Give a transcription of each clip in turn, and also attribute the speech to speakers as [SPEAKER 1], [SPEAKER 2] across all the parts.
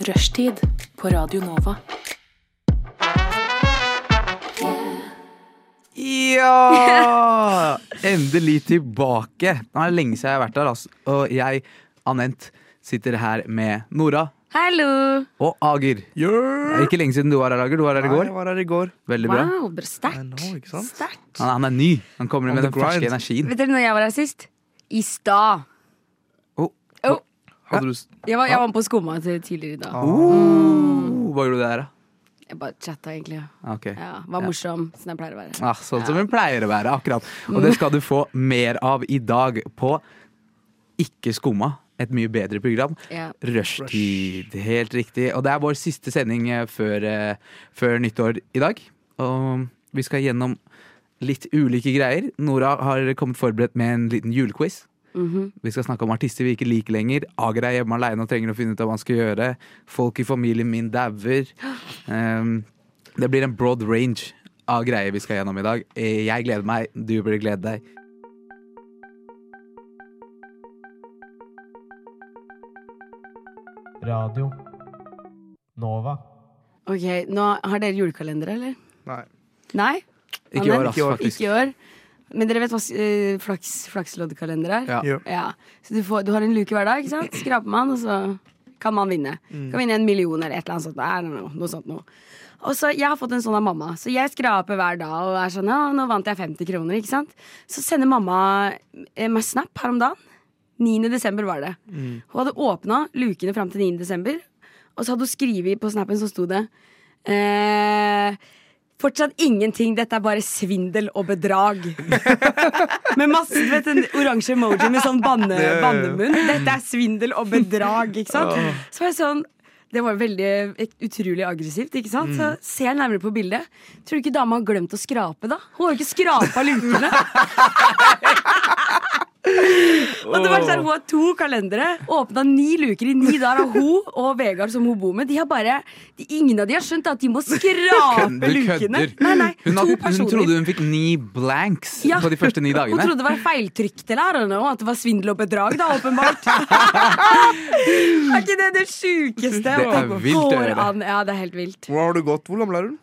[SPEAKER 1] Rushtid på Radio Nova.
[SPEAKER 2] Ja! Endelig tilbake. Nå er det lenge siden jeg har vært her. Altså. Og jeg, Anent, sitter her med Nora
[SPEAKER 3] Hallo!
[SPEAKER 2] og Ager. Det er ikke lenge siden du var her, Ager. Du var her i går.
[SPEAKER 4] Jeg var her i går.
[SPEAKER 2] Veldig bra.
[SPEAKER 3] Wow, bra-
[SPEAKER 4] I
[SPEAKER 3] sterkt.
[SPEAKER 4] know, ikke sant?
[SPEAKER 3] Sterkt.
[SPEAKER 2] Han, han er ny. Han kommer
[SPEAKER 4] On
[SPEAKER 2] med
[SPEAKER 4] the
[SPEAKER 2] den ferske
[SPEAKER 4] grind.
[SPEAKER 2] energien.
[SPEAKER 3] Vet dere når jeg var her sist? I stad.
[SPEAKER 2] Oh.
[SPEAKER 3] Oh,
[SPEAKER 4] Hadde du s-
[SPEAKER 3] jeg, var, jeg var med på Skoma til tidligere i dag.
[SPEAKER 2] Oh, hva gjorde du der, da?
[SPEAKER 3] Jeg bare chatta, egentlig.
[SPEAKER 2] Ah, ok.
[SPEAKER 3] Ja, var morsom, som jeg pleier å være.
[SPEAKER 2] Ah, sånn som hun pleier å være, akkurat. Og det skal du få mer av i dag på Ikke skumma. Et mye bedre program.
[SPEAKER 3] Ja.
[SPEAKER 2] Rushtid. Helt riktig. Og det er vår siste sending eh, før, eh, før nyttår i dag. Og vi skal gjennom litt ulike greier. Nora har kommet forberedt med en liten julequiz. Vi skal snakke om artister vi ikke liker lenger. Ager er hjemme aleine og trenger å finne ut av hva han skal gjøre. Folk i familien min dauer. Um, det blir en broad range av greier vi skal gjennom i dag. Eh, Jeg gleder meg, du burde glede deg.
[SPEAKER 5] Radio Nova.
[SPEAKER 3] Ok, nå Har dere julekalender, eller?
[SPEAKER 4] Nei.
[SPEAKER 3] Nei?
[SPEAKER 2] Ikke i år,
[SPEAKER 3] Annet?
[SPEAKER 2] altså, faktisk.
[SPEAKER 3] Ikke i år. Men dere vet hva eh, flaks, flaksloddkalender er?
[SPEAKER 2] Ja.
[SPEAKER 4] Jo.
[SPEAKER 3] Ja, så du, får, du har en luke hver dag, ikke sant? Skraper man, og så kan man vinne. Kan vinne en million eller et eller annet sånt. I don't know, noe sånt noe. Og så, Jeg har fått en sånn av mamma, så jeg skraper hver dag og er sånn ja, 'Nå vant jeg 50 kroner', ikke sant? Så sender mamma eh, meg snap her om dagen. 9. desember var det. Hun hadde åpna lukene fram til 9. desember, og så hadde hun skrevet på snappen, så sto det eh, Fortsatt ingenting, dette er bare svindel og bedrag. Med masse, du vet, en oransje emoji med sånn banne, bannemunn. Dette er svindel og bedrag, ikke sant? Så var jeg sånn Det var veldig utrolig aggressivt, ikke sant? Så ser jeg nærmere på bildet. Tror du ikke dama har glemt å skrape, da? Hun har jo ikke skrapa lukene. Og det var sånn, Hun har to kalendere, åpna ni luker i ni dager. Og hun og Vegard, som hun bor med, de har bare de, Ingen av de har skjønt at de må
[SPEAKER 2] Kødder,
[SPEAKER 3] skrape lukene.
[SPEAKER 2] kødder.
[SPEAKER 3] Nei, nei,
[SPEAKER 2] Hun,
[SPEAKER 3] to
[SPEAKER 2] hadde, hun
[SPEAKER 3] personer.
[SPEAKER 2] trodde hun fikk ni blanks
[SPEAKER 3] Ja.
[SPEAKER 2] på de første ni
[SPEAKER 3] Hun
[SPEAKER 2] dagene.
[SPEAKER 3] trodde det var feiltrykt eller I don't know, at det var svindel og bedrag, da, åpenbart. er ikke det det sjukeste?
[SPEAKER 2] Det er vilt å gjøre det.
[SPEAKER 3] Ja, det er helt vilt.
[SPEAKER 4] Hvordan har du gått? Hvor gammel er du?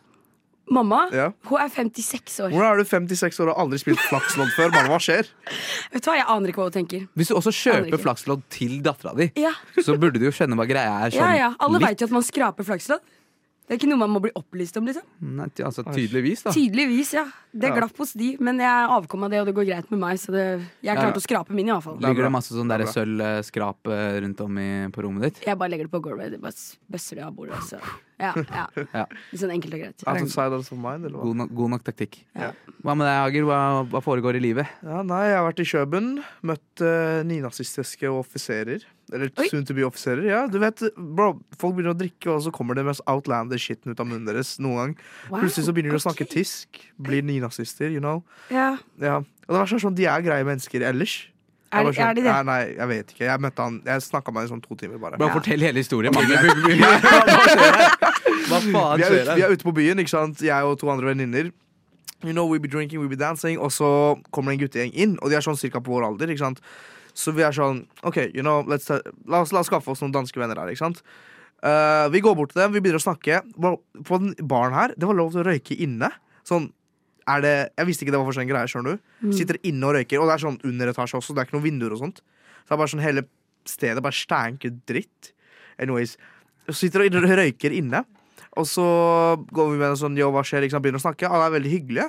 [SPEAKER 3] Mamma,
[SPEAKER 4] Ja.
[SPEAKER 3] hun er 56 år.
[SPEAKER 4] Hvordan er du 56 år og har aldri spilt flakslodd før? Mann, hva skjer?
[SPEAKER 3] Vet du hva, jeg aner ikke hva hun tenker.
[SPEAKER 2] Hvis du også
[SPEAKER 3] Aner
[SPEAKER 2] kjøper
[SPEAKER 3] ikke.
[SPEAKER 2] flakslodd til dattera di,
[SPEAKER 3] Ja,
[SPEAKER 2] så burde du jo skjønne hva greia er. Sånn,
[SPEAKER 3] ja, ja. Alle
[SPEAKER 2] litt.
[SPEAKER 3] veit jo at man skraper flakslodd. Det er ikke noe man må bli opplyst om, liksom.
[SPEAKER 2] Nei, altså, tydeligvis, da.
[SPEAKER 3] Tydeligvis, ja. Det
[SPEAKER 4] Ja.
[SPEAKER 3] glapp hos de, men jeg er avkom av det, og det går greit med meg, så det, jeg
[SPEAKER 2] Ja.
[SPEAKER 3] klarte å skrape min, iallfall.
[SPEAKER 2] Ligger
[SPEAKER 4] bra.
[SPEAKER 2] det masse sånn
[SPEAKER 4] Det er
[SPEAKER 2] der
[SPEAKER 4] bra.
[SPEAKER 2] sølvskrap eh, rundt om i, på rommet ditt?
[SPEAKER 3] Jeg bare legger det på gulvet, det bare bøsser det av bordet, så ja. ja.
[SPEAKER 2] Ja.
[SPEAKER 3] Litt sånn enkelt og greit.
[SPEAKER 4] Outside of mind, eller hva?
[SPEAKER 2] God, nok- god nok taktikk.
[SPEAKER 3] Ja.
[SPEAKER 2] Hva med deg, Ager? Hva, hva foregår i livet?
[SPEAKER 4] Ja, nei, jeg har vært i Kjøben, møtt uh, nynazistiske offiserer. Eller
[SPEAKER 3] Oi.
[SPEAKER 4] soon to be offiserer. Ja, du vet, bro, folk begynner å drikke, og så kommer det mest outlandish shitten ut av munnen deres noen gang.
[SPEAKER 3] Wow,
[SPEAKER 4] Plutselig så begynner de å snakke
[SPEAKER 3] ok.
[SPEAKER 4] tysk. Blir nynazister, you know.
[SPEAKER 3] Ja.
[SPEAKER 4] Ja. Og det verste er sånn, de er greie mennesker ellers. Jeg
[SPEAKER 3] Er,
[SPEAKER 4] var sånn,
[SPEAKER 3] er de det?
[SPEAKER 4] Nei, nei, jeg vet ikke. Jeg møtte han, jeg snakka med han i sånn to timer, bare.
[SPEAKER 2] Bare Fortell hele historien. Magne. Vi- vi- Hva faen
[SPEAKER 4] vi er, ute,
[SPEAKER 2] skjer
[SPEAKER 4] vi
[SPEAKER 2] her?
[SPEAKER 4] er ute på byen, ikke sant? Jeg og to andre venninner. You know, we be drinking, we be dancing. Og så kommer det en guttegjeng inn, og de er sånn cirka på vår alder. ikke sant? Så vi er sånn OK, you know, let's ta, la, oss, la oss skaffe oss noen danske venner her, ikke sant? Eh, vi går bort til dem, vi begynner å snakke. Bro, På den baren her, det var lov til å røyke inne. Sånn, er det, Jeg visste ikke det var for en greie, skjønner du. Sitter inne og røyker, og det er sånn underetasje også, det er ikke noen vinduer og sånt. Så det er bare sånn hele stedet bare stænker dritt. Anyways, så sitter og røyker inne. Og så går vi med en sånn Yo, hva skjer? Ikke sant? Begynner å snakke. Alle er veldig hyggelige.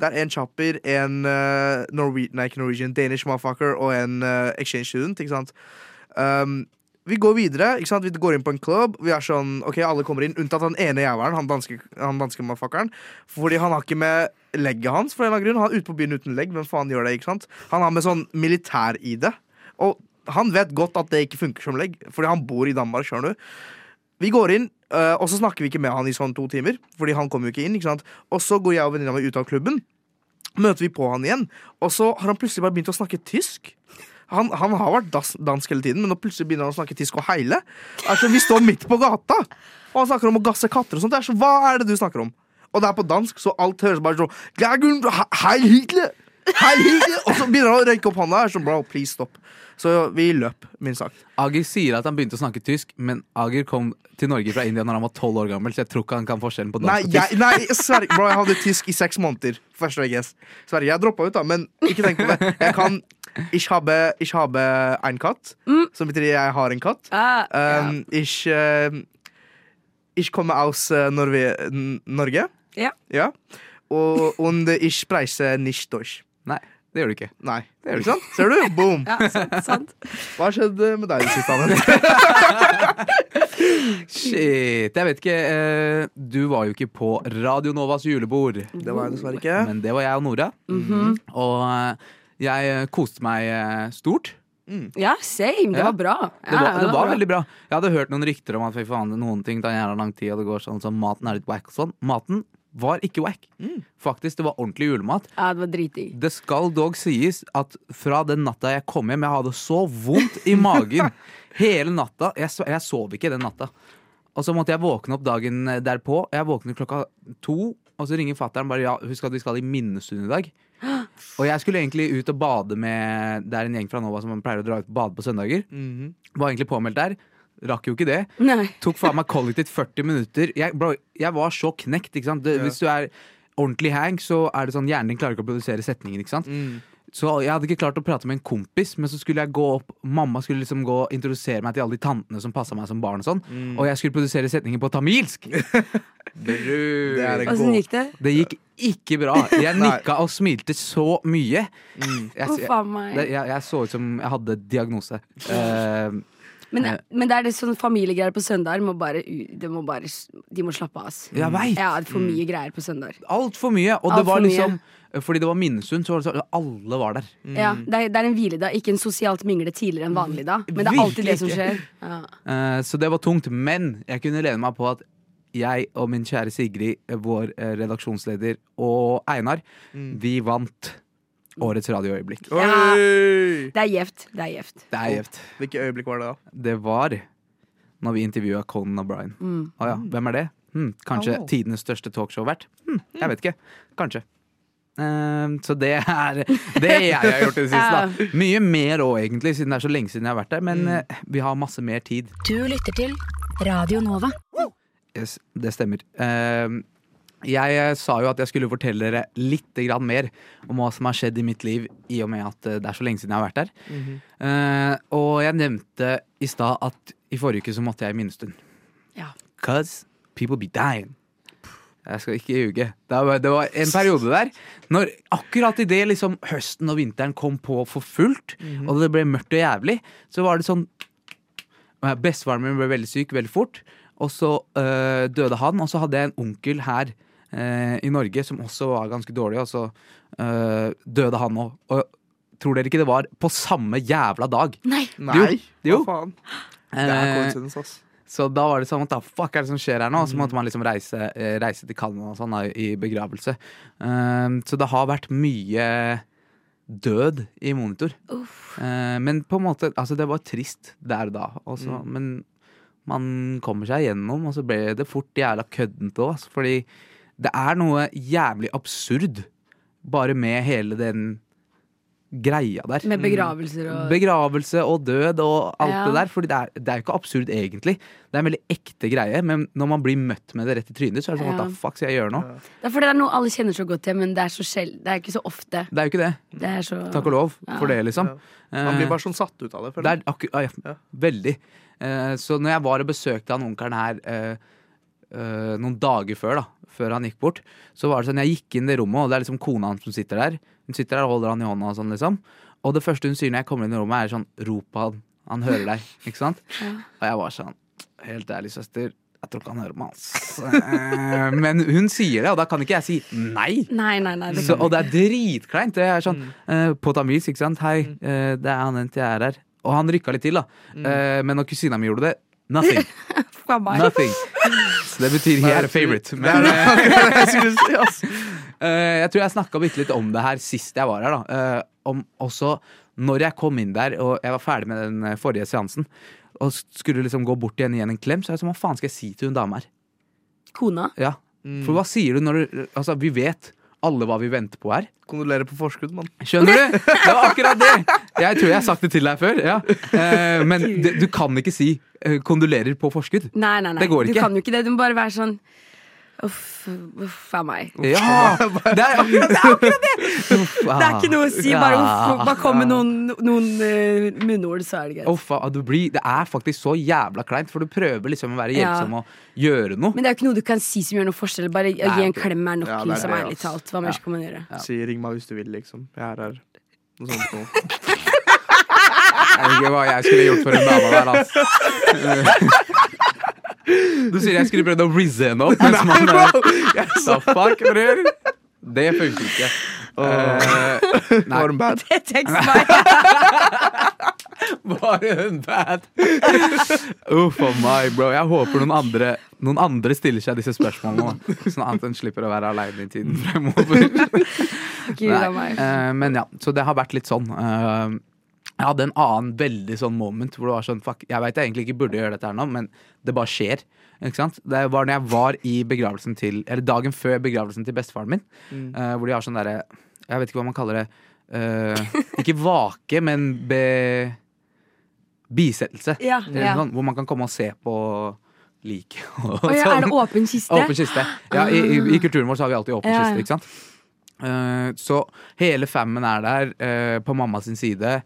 [SPEAKER 4] Det er en chopper, en eh, Norwe- nei, ikke Norwegian, Danish motherfucker og en eh, exchange student. Ikke sant? Um, vi går videre. Ikke sant? Vi går inn på en club. Vi er sånn, ok, Alle kommer inn, unntatt han ene jævelen, han danske, han danske motherfuckeren. Fordi han har ikke med legget hans. For en eller annen grunn Han er ute på byen uten legg. Hvem faen gjør det? ikke sant? Han har med sånn militær-ID. Og han vet godt at det ikke funker som legg, fordi han bor i Danmark. skjønner du vi går inn, øh, og så snakker vi ikke med han i sånn to timer. Fordi han kommer jo ikke inn, ikke sant? Og så går jeg og venninna mi ut av klubben. Møter vi på han igjen, og så har han plutselig bare begynt å snakke tysk. Han, han har vært das, dansk hele tiden, men nå plutselig begynner han å snakke tysk og heile. Altså, vi står midt på gata, og han snakker om å gasse katter og sånt. Det er så, hva er det du snakker om? Og det er på dansk, så alt høres bare sånn «Ja, Gunn, he- Hei, Hitler! Helvete! Og så begynner han å røyke opp hånda. Jeg er sånn, bro, please stopp. Så vi løp, min sak.
[SPEAKER 2] Ager sier at han begynte å snakke tysk, men Ager kom til Norge fra India når han var 12 år gammel, så jeg tror ikke han kan forskjellen på
[SPEAKER 4] Nei,
[SPEAKER 2] dansk og tysk.
[SPEAKER 4] jeg, nei Sverige, bro, jeg hadde tysk i seks måneder. Først og fremst. Sverige, jeg droppa ut, da, men ikke tenk på det. Jeg kan Ich habe, ich habe ein katt, som betyr jeg har en katt.
[SPEAKER 3] Ah, Mm. ja.
[SPEAKER 4] Um, Ich, um, ich komme aus äh, Norwe N- Norge.
[SPEAKER 3] Ja.
[SPEAKER 4] Ja. Og, und ich spreche nicht Deutsch.
[SPEAKER 2] Nei, det gjør du ikke.
[SPEAKER 4] Nei.
[SPEAKER 2] Det er
[SPEAKER 4] Ikke sant? Ser du? Boom!
[SPEAKER 3] ja, sant, sant.
[SPEAKER 4] Hva har skjedd eh, med deg i det siste? Anne?
[SPEAKER 2] Shit, jeg vet ikke. eh, Du var jo ikke på Radio Novas julebord.
[SPEAKER 4] Det var jeg dessverre ikke.
[SPEAKER 2] Men det var jeg og Nora.
[SPEAKER 3] Mhm.
[SPEAKER 2] Og eh, jeg eh, koste meg eh, stort.
[SPEAKER 3] Ja, same. Det
[SPEAKER 2] Ja.
[SPEAKER 3] var bra.
[SPEAKER 2] Det var,
[SPEAKER 3] Ja,
[SPEAKER 2] det var
[SPEAKER 3] bra.
[SPEAKER 2] veldig bra. Jeg hadde hørt noen rykter om at fy faen, noen ting tar jævla lang tid, og det går sånn som maten er litt wack og sånn. Maten var ikke wack.
[SPEAKER 3] Mm.
[SPEAKER 2] Faktisk, det var ordentlig julemat.
[SPEAKER 3] Ja, det var dritdigg.
[SPEAKER 2] Det skal dog sies at fra den natta jeg kom hjem, jeg hadde så vondt i magen hele natta. Jeg, sv- jeg sov ikke den natta. Og så måtte jeg våkne opp dagen derpå. Jeg våkner klokka to, og så ringer fatter'n bare ja, husk at vi skal i Minnesund i dag. Og jeg skulle egentlig ut og bade med Det er en gjeng fra Nova som pleier å dra ut og bade på søndager.
[SPEAKER 4] Mhm.
[SPEAKER 2] Var egentlig påmeldt der. Rakk jo ikke det.
[SPEAKER 3] Nei.
[SPEAKER 2] Tok faen meg kollektivt 40 minutter. Jeg, bro, jeg var så knekt. ikke sant? Det,
[SPEAKER 4] Ja.
[SPEAKER 2] Hvis du er ordentlig hang, så er det sånn hjernen din klarer ikke å produsere setningen. ikke sant?
[SPEAKER 4] Mm.
[SPEAKER 2] Så jeg hadde ikke klart å prate med en kompis, men så skulle jeg gå opp Mamma skulle liksom gå og introdusere meg til alle de tantene som passa meg som barn. Og sånn
[SPEAKER 3] Mm.
[SPEAKER 2] Og jeg skulle produsere setninger på tamilsk!
[SPEAKER 4] Det er en
[SPEAKER 2] Bror.
[SPEAKER 3] Åssen gikk det?
[SPEAKER 2] Det gikk ikke bra. Jeg
[SPEAKER 4] Nei.
[SPEAKER 2] nikka og smilte så mye. Jeg,
[SPEAKER 3] Mm. Å,
[SPEAKER 2] jeg,
[SPEAKER 3] faen meg.
[SPEAKER 2] det- jeg, jeg så ut som jeg hadde diagnose. Eh,
[SPEAKER 3] Men, men det er det sånn familiegreier på søndager må bare, u- det må bare s- De må slappe av. ass.
[SPEAKER 2] jeg veit!
[SPEAKER 3] Ja, det er for mye greier på søndag.
[SPEAKER 2] Altfor mye. Og
[SPEAKER 3] Alt
[SPEAKER 2] det
[SPEAKER 3] for
[SPEAKER 2] var
[SPEAKER 3] mye.
[SPEAKER 2] liksom Fordi det var Minnesund, så var det sånn Alle var der.
[SPEAKER 4] Mm-hmm.
[SPEAKER 3] Ja, det, er, det er en hviledag, ikke en sosialt mingle tidligere enn vanlig dag. Men det er alltid det som skjer. Ja.
[SPEAKER 2] Eh, så det var tungt. Men jeg kunne lene meg på at jeg og min kjære Sigrid, eh, vår eh, redaksjonsleder, og Einar, vi vant årets radioøyeblikk.
[SPEAKER 3] Ja.
[SPEAKER 4] Oi!
[SPEAKER 3] Det er gjevt. Det er gjevt.
[SPEAKER 2] Det er gjevt.
[SPEAKER 4] Hvilke øyeblikk var det da?
[SPEAKER 2] Det var når vi intervjua Conan O'Brien.
[SPEAKER 3] Mm.
[SPEAKER 2] Å ja, hvem er det? Hm, kanskje
[SPEAKER 4] Oh.
[SPEAKER 2] tidenes største talkshow-vert? Hm, jeg vet ikke. Kanskje. Eh, så det er det jeg har gjort i det siste. Da. Mye mer òg, egentlig, siden det er så lenge siden jeg har vært der. Men eh, vi har masse mer tid.
[SPEAKER 6] Du lytter til Radio Nova.
[SPEAKER 2] Yes, det stemmer. Ehm, jeg eh, sa jo at jeg skulle fortelle dere litt grann mer om hva som har skjedd i mitt liv, i og med at eh, det er så lenge siden jeg har vært der. Eh, og jeg nevnte i stad at i forrige uke så måtte jeg i minnestund.
[SPEAKER 3] Ja.
[SPEAKER 2] Cause people be dying. Jeg skal ikke ljuge. Det var, det var en periode der når akkurat idet liksom, høsten og vinteren kom på for fullt, og det ble mørkt og jævlig, så var det sånn Eh, Bestefaren min ble veldig syk veldig fort, og så eh, døde han. Og så hadde jeg en onkel her eh, i Norge som også var ganske dårlig, og så eh, døde han òg. Og tror dere ikke det var på samme jævla dag? Eh,
[SPEAKER 3] Nei.
[SPEAKER 4] Nei,
[SPEAKER 2] jo.
[SPEAKER 4] hva faen? Det er coincidence, ass.
[SPEAKER 2] Så da var det sånn, what the fuck er det som skjer her nå? Og så måtte man liksom reise, eh, reise til Canada og sånn da, i begravelse. Ehm, så det har vært mye død i monitor. Eh, men på en måte, altså det var trist der og da. og så- Men man kommer seg gjennom, og så ble det fort jævla køddent òg. Altså, fordi det er noe jævlig absurd bare med hele den greia der.
[SPEAKER 3] Med begravelser og
[SPEAKER 2] Begravelse og død og alt
[SPEAKER 3] Ja.
[SPEAKER 2] det der. Fordi det er, det er jo ikke absurd, egentlig. Det er en veldig ekte greie, men når man blir møtt med det rett i trynet, så er det sånn
[SPEAKER 3] Ja.
[SPEAKER 2] what the fuck skal jeg gjøre nå?
[SPEAKER 3] Det er fordi det er noe alle kjenner så godt til, men det er så sjeld... Det er ikke så ofte.
[SPEAKER 2] Det er jo ikke det.
[SPEAKER 3] Det er så
[SPEAKER 2] Takk og lov for det, liksom.
[SPEAKER 4] Man blir
[SPEAKER 2] Eh,
[SPEAKER 4] bare sånn satt ut av
[SPEAKER 2] Det
[SPEAKER 4] det. føler jeg.
[SPEAKER 2] er akkur ah, ja.
[SPEAKER 4] Ja.
[SPEAKER 2] Veldig. Eh, så når jeg var og besøkte han onkelen her eh, eh, noen dager før, da, før han gikk bort, så var det sånn, jeg gikk inn i rommet, og det er liksom kona hans som sitter der. Hun sitter der og holder han i hånda og sånn, liksom. Og det første hun sier når jeg kommer inn i rommet, er sånn, rop han, han hører deg, ikke sant? Og jeg var sånn, helt ærlig søster, jeg tror ikke han hører meg, ass. Eh, Men hun sier det, og da kan ikke jeg si nei.
[SPEAKER 3] Nei, nei, nei. Det
[SPEAKER 2] Så, og det er dritkleint. Det er sånn eh, På tamilsk, ikke sant. Hei, eh, det er han NT er her. Og han rykka litt til, da. Eh, men når kusina mi gjorde det Nothing.
[SPEAKER 3] faen meg.
[SPEAKER 2] nothing. Så det betyr he had a favorite.
[SPEAKER 4] Det er
[SPEAKER 2] Men
[SPEAKER 4] det jeg skulle si, ass.
[SPEAKER 2] eh, jeg tror jeg snakka bitte litt om det her sist jeg var her, da. Eh, om også når jeg kom inn der, og jeg var ferdig med den eh, forrige seansen, og skulle liksom gå bort igjen igjen en klem, så er det sånn hva faen skal jeg si til hun dama her?
[SPEAKER 3] Kona.
[SPEAKER 4] Mm.
[SPEAKER 2] Ja. For hva sier du når du Altså, vi vet alle hva vi venter på her.
[SPEAKER 4] Kondolerer på forskudd, mann.
[SPEAKER 2] Skjønner du? Det var akkurat det! Jeg tror jeg har sagt det til deg før. Ja. Eh, men det, du kan ikke si eh, 'kondolerer på forskudd'.
[SPEAKER 3] Nei, nei, nei.
[SPEAKER 2] Det går
[SPEAKER 3] Du
[SPEAKER 2] ikke.
[SPEAKER 3] kan jo ikke det. Du må bare være sånn Uff, uff a meg.
[SPEAKER 2] Ja! Det er akkurat det! ah.
[SPEAKER 3] Det er ikke noe å si, bare uff. Bare kom med noen, noen eh, munnord, så er det greit.
[SPEAKER 2] Uff, ah, du blir, det er faktisk så jævla kleint, for du prøver liksom å være
[SPEAKER 3] Ja.
[SPEAKER 2] hjelpsom og gjøre noe.
[SPEAKER 3] Men det er jo ikke noe du kan si som gjør noe forskjell. Bare å
[SPEAKER 2] Nei,
[SPEAKER 3] gi en
[SPEAKER 2] ok.
[SPEAKER 3] klem er nok,
[SPEAKER 4] Ja, det er
[SPEAKER 3] liksom,
[SPEAKER 4] det,
[SPEAKER 3] ærlig
[SPEAKER 4] ass.
[SPEAKER 3] talt. Hva mer skal man gjøre?
[SPEAKER 4] Si 'ring meg hvis du vil', liksom. Jeg er her. Noe sånt noe.
[SPEAKER 2] Jeg vet ikke hva jeg skulle gjort for en dame der, altså. Du sier jeg skulle prøvd å rizze henne opp, mens man Da fuck, bror. Det funker ikke. Eh, nei,
[SPEAKER 4] Var hun bad?
[SPEAKER 3] Det tekst meg.
[SPEAKER 2] bare hun bad. Uff a meg, bro. Jeg håper noen andre, noen andre stiller seg disse spørsmålene, nå, sånn at en slipper å være aleine i tiden fremover.
[SPEAKER 3] Gud a
[SPEAKER 2] Nei,
[SPEAKER 3] meg.
[SPEAKER 2] eh, men ja, så det har vært litt sånn. eh, jeg hadde en annen veldig sånn moment hvor det var sånn fuck, jeg veit jeg egentlig ikke burde gjøre dette her nå, men det bare skjer. Ikke sant? Det var når jeg var i begravelsen til Eller dagen før begravelsen til bestefaren min, eh, hvor de har sånn derre Jeg vet ikke hva man kaller det. eh, ikke vake, men be, bisettelse.
[SPEAKER 3] Ja,
[SPEAKER 2] Det er
[SPEAKER 3] ja.
[SPEAKER 2] Sånn, hvor man kan komme og se på liket. og
[SPEAKER 3] Å ja, er
[SPEAKER 2] sånn.
[SPEAKER 3] det åpen kiste?
[SPEAKER 2] Åpen kiste. Ja, i, i, I kulturen vår så har vi alltid åpen
[SPEAKER 3] Ja, ja.
[SPEAKER 2] kiste, ikke sant. Eh, så hele fammen er der eh, på mamma sin side,